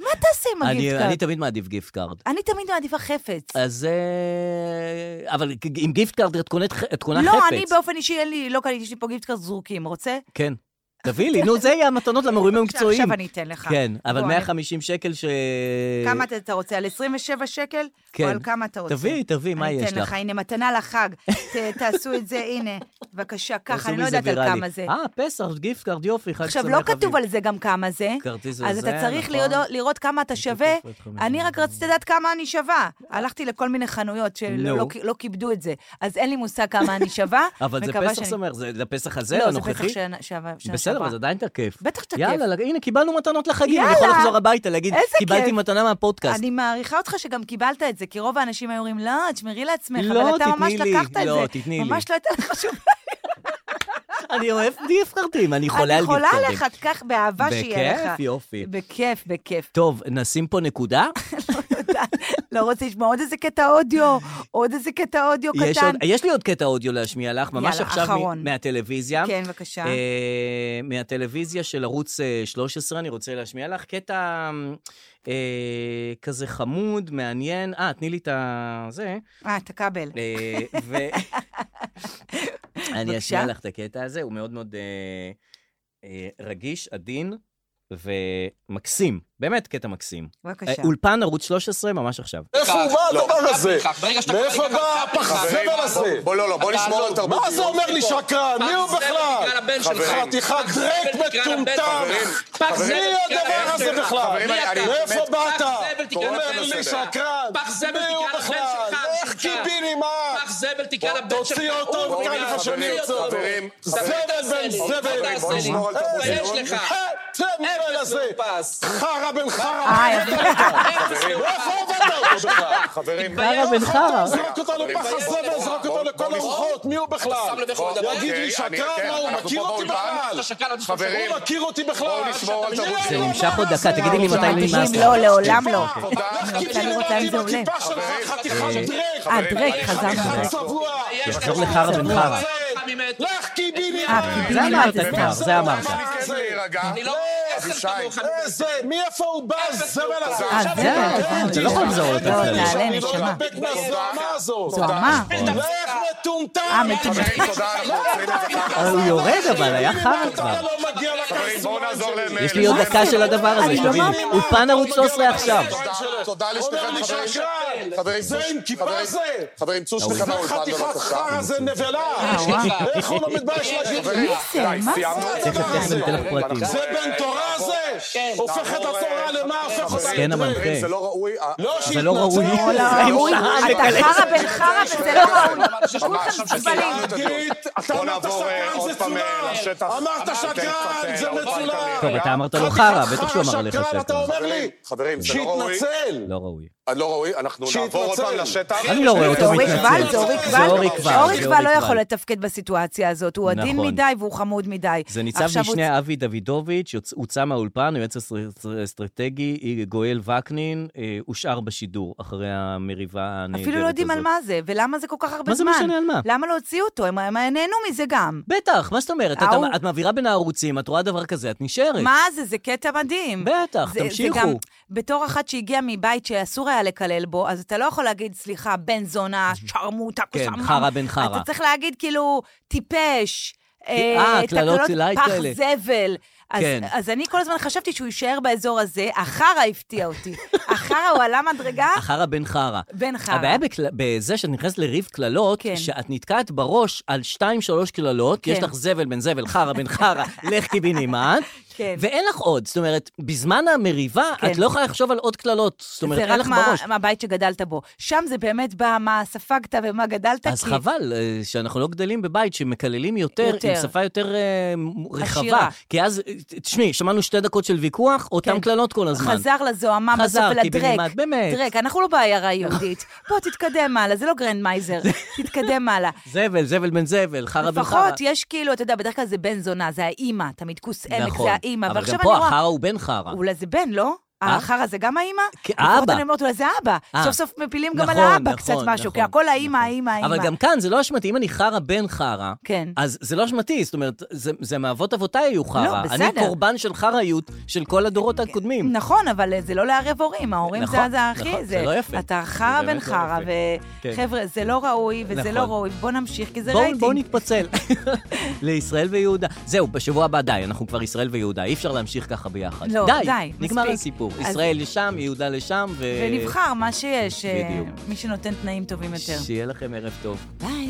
מה תעשה עם
אני-
הגיפט
אני
קארד?
תמיד מעדיף גיפט קארד.
אני תמיד מעדיפה חפץ.
אז... אה, אבל עם גיפט קארד את קונת- את קונה חפץ.
לא, אני באופן אישי, אין לי, לא קניתי, יש לי פה גיפט קארד זרוקים, רוצה?
כן. תביא לי, נו, זה יהיה המתנות למורים המקצועיים.
עכשיו אני אתן לך.
כן, אבל
בוא,
150 שקל ש...
אני- כמה אתה- אתה רוצה? על 27 שקל?
כן.
או על כמה אתה רוצה?
תביאי, תביאי, מה
אני
יש
אתן לך,
לך?
הנה, מתנה לחג. ת- תעשו את זה, הנה. בבקשה,
תעשו
ככה, אני לא
מזה
יודעת על
ויראלי.
כמה זה.
אה, פסח, גיפט קארד, יופי, חג שמח.
עכשיו, לא כתוב
אביב.
על זה גם כמה זה.
כרטיס
אז
הזה,
אתה צריך
נכון.
לראות- לראות כמה אתה שווה. אני רק רציתי לדעת כמה אני שווה. הלכתי לכל מיני חנויות
נו.
שלא לא- לא כיבדו את זה. אז אין לי מושג כמה אני שווה.
אבל זה
מקווה
פסח
שאני-
שמח, זה לפסח הזה,
לא, זה
הנוכחי?
פסח שנה- שנה- שנה
בסדר,
שעברה.
אבל זה עדיין תקף.
בטח תקף.
יאללה, הנה, קיבלנו מתנות לחגים, אני יכול
יאללה.
לחזור הביתה, להגיד,
איזה
קיבלתי
כיף.
מתנה מהפודקאסט.
אני מעריכה אותך שגם קיבלת את זה, כי רוב האנשים היו אומרים, לא, תשמרי לעצמך,
לא,
אבל אתה
תתני
ממש
לי,
לקחת את זה.
לא, תתני לי.
ממש לא הייתה לך שום...
אני אוהב גיפט קארדים, אני חולה על
אני
גיפט
חולה
קארדים.
עליך, תקח באהבה שיהיה לך.
בכיף, יופי.
בכיף, בכיף.
טוב, נשים פה נקודה.
לא רוצה לשמוע עוד איזה קטע אודיו, עוד איזה קטע אודיו
יש,
קטן.
עוד, יש לי עוד קטע אודיו להשמיע לך, ממש
יאללה,
עכשיו
אחרון.
מ- מהטלוויזיה.
כן, בבקשה.
אה, מהטלוויזיה של ערוץ אה, 13, אני רוצה להשמיע לך קטע אמ, אה, כזה חמוד, מעניין. אה, תני לי את ה... זה.
אה, את הכבל.
אה, ו... אני
בבקשה.
אשמיע לך את הקטע הזה, הוא מאוד מאוד אה, אה, רגיש, עדין ומקסים. באמת קטע מקסים.
בבקשה.
אה, אולפן ערוץ 13, ממש עכשיו.
מאיפה הוא בא
לא,
הדבר
אתה
הזה?
פרחח. ברגע שאתה
מאיפה
קורא
בא
ככה, ככה.
הפחזבל
חברים,
הזה?
בוא, לא, לא, בוא נשמור על תרבות
מה זה
דיון.
אומר לי שקרן? מי הוא
פח זבל בגלל
בכלל?
הבן שלך.
חתיכת
פח זבל
דרק
בגלל הבן שלך.
מטומטם.
חברים, פח זבל
מי
בגלל
הדבר
הבן
הזה
שלך.
בכלל?
חברים, אני- לא
מאיפה באת? אומר לי שקרן.
אני באמת- פח זבל תקרא לבן שלך. פח זבל
מי הוא
תקרא
בכלל?
לבן שלך,
לך
שלך.
קיבינימט.
פח זבל תקרא לבן שלך.
תוציא אותו
הוא
ותקרא
אומר,
לך שאני
חברים,
יוצא.
חברים,
זבל בן זבל.
בוא נשמור על תרבות דיון. תתבייש לך.
צא מפה לזה. חרא בן חרא.
אה,
מה הבאת אותנו? מאיפה הבאת אותו בכלל?
חברים,
חרא בן חרא. זרק אותו
חברים,
לפח
תתבייש
הזבל,
לך.
זרק אותו לכל הרוחות, מי הוא בכלל?
שם לב איך הוא מדבר?
יגיד לי,
אוקיי, אני-
שקרן,
כן,
מה הוא
אנחנו
מכיר
פה
אותי
באולפן.
בכלל?
אתה שקרן, אתה
חברים, הוא מכיר אותי בכלל.
בואו נשמור על תרבות
מי
זה
הוא
נמשך עוד
הדבר
דקה,
הזה?
תגידי לי מתי נמאס
מדהים, לא, לעולם לא.
אני רוצה אם זה עולה. עם הכיפה שלך, חתיכת דרק.
אה, דרק, חזרנו.
חתיכת צבוע.
תחזור לחרא בן חרא.
אה, לך קיבינימט.
זה אמרת, כבר, זה אמרת.
אני לא...
אה,
עשר כמוך, אני
איזה, מאיפה הוא לא בא הזבל הזה?
אה, זבל, הבנתי.
אתה לא יכול לחזור
לא,
לתת להם.
תעלה, נשמה.
דבק מהזוהמה הזאת.
זוהמה?
לך מטומטם.
אה, מטומטם.
תודה, אנחנו עוצרים את זה ככה.
הוא יורד אבל, היה חרא כבר.
אתה לא מגיע
חברים,
לקרסמן
בואו נעזור להם.
יש לי עוד דקה של הדבר הזה,
אני לא
שתביני.
מאמינה.
אולפן ערוץ
לא
13 עכשיו.
תודה- תודה
אומר
לשניכם,
לי
חברים.
שקרן.
חברים,
זה עם כיפה
חברים,
זה.
חברים, צאו
זה
שניכם מהאולפן,
חתיכת
בבקשה.
חרא זה נבלה. איך הוא לא מתבייש להגיד לי?
חברים,
זה?
די,
מה
סיימנו
זה?
את
תכף, תכף
הדבר
אני אתן לך
הזה.
פרטים.
אנחנו-
זה בן תורה הזה? הופך את
נעבור,
התורה למה הופך אותה
מסכן
לדרק?
המנחה.
זה לא ראוי.
לא
זה
שיתנצל.
לא ראוי.
לא,
הם
אומרים,
שעה
אתה
מקללת.
חרא בן חרא וזה לא ראוי. כולכם
עכשיו
זבלים.
שסיימנו את הדיון.
תגיד, אתה
בואו
אמרת
נעבור, אה,
שקרן
עוד
זה
פעם, אה,
צולם.
לשטח.
אמרת
אמרת
שקרן
שקרן,
זה
אה, אורבן
מצולם.
כנראה.
טוב, אתה אמרת לו חרא,
חתיכת
בטח שהוא אמר
חרא,
עליך
שקרן, אתה
שקרן.
אומר לי?
חברים, זה לא ראוי.
שיתנצל.
לא ראוי.
אה, לא ראוי, אנחנו נעבור עוד פעם
שיתנצל.
לשטח.
אני לא רואה
זה
אותו
אורי
מתנצל.
קבל, זה אורי
זה אורי
קבל.
קבל.
אורי
זה
קבל לא
אורי
יכול
קבל.
לתפקד בסיטואציה הזאת, הוא עדין
נכון.
מדי והוא חמוד מדי.
זה ניצב
עכשיו הוא-
משנה אבי דוידוביץ', יוצ- הוצא מהאולפן, היועץ האסטר- אסטרטגי אה, גואל וקנין, אה, הושאר בשידור אחרי המריבה הנהדרת הזאת.
אפילו לא יודעים על מה זה, ולמה זה כל כך הרבה
מה זה
זמן.
משנה על מה?
למה לא הוציאו אותו? הם הם נהנו מזה גם.
בטח, מה זאת אומרת? את-
ההוא-
את מעבירה בין הערוצים, את רואה דבר כזה, את נשארת.
מה זה? זה קטע מדהים.
בטח,
זה-
אה, תמשיכו.
זה גם, בתור אחת שהגיעה מבית שאסור היה לקלל בו, אז אתה לא יכול להגיד, סליחה, בן זונה, שרמוטה,
כן,
כוסמם."
חרא בן חרא.
אתה צריך להגיד כאילו, טיפש.
אה, קללות לייט
פח
כאלה.
זבל. אז,
כן.
אז אני כל הזמן חשבתי שהוא יישאר באזור הזה, החרא הפתיע אותי. החרא הוא עלה מדרגה,
החרא בן חרא.
בן חרא.
הבעיה בכל... בזה שאת נכנסת לריב קללות,
כן.
שאת נתקעת בראש על שתיים, שלוש קללות,
כן.
יש לך זבל בן זבל, חרא בן חרא, לך קיבינימט,
כן.
ואין לך עוד. זאת אומרת, בזמן המריבה,
כן.
את לא יכולה לחשוב על עוד קללות. זאת אומרת,
זה
אין
רק
לך
מה,
בראש.
מהבית שגדלת בו. שם זה באמת בא מה ספגת ומה גדלת.
אז
כי-
חבל אה, שאנחנו לא גדלים בבית שמקללים יותר, עם
יותר.
שפה יותר אה, מ- רחבה.
עשירה.
כי אז, אה, תשמעי, שמענו שתי דקות של ויכוח, אותם
כן.
קללות כל הזמן.
חזר לזוהמה
חזר,
בסוף
קיבינימט,
ולדרק.
באמת.
דרק, אנחנו לא בעיירה יהודית. בוא, תתקדם הלאה, זה לא גרנד מייזר, תתקדם הלאה.
זבל, זבל בן זבל, חרא בן חרא.
לפחות יש כאילו, אתה יודע, בדרך כלל זה בן זונה, זה האימא, תמיד כוס עמק,
נכון.
זה האימא.
אבל
ועכשיו
גם
אני
פה
רואה,
החרא הוא בן חרא.
אולי זה בן, לא? החרא זה גם האימא?
כן,
לפחות
האבא.
אני אומרת, אולי זה אבא.
אה.
סוף סוף מפילים גם על
נכון,
האבא
נכון,
קצת משהו, כי
נכון,
הכל האימא, האימא, האימא.
אבל גם כאן זה לא אשמתי, אם אני חרא בן חרא,
כן. לא,
אז זה לא אשמתי, זאת אומרת, זה- זה מאבות אבותיי היו חרא.
בסדר.
אני קורבן של חראיות של כל הדורות הקודמים.
נכון, אבל זה לא לערב הורים, ההורים זה
נכון,
זה הכי,
נכון, זה לא יפה.
אתה
זה
חרא
באמת
בן
לא
חרא,
יפה. כן.
וחבר'ה, זה לא ראוי וזה
נכון.
לא ראוי, בוא נמשיך, כי זה
בואו-
רייטינג.
בואו נתפצל. לישראל ויהודה. זהו, בשבוע הבא די, אנחנו כבר ישראל ויהודה, אי אפשר להמשיך ככה ביחד.
לא,
די,
די,
נגמר
מספיק.
הסיפור.
אז-
ישראל לשם, יהודה לשם, ו...
ונבחר מה שיש, אה,
בדיוק.
מי שנותן תנאים טובים יותר.
שיהיה לכם ערב טוב.
ביי.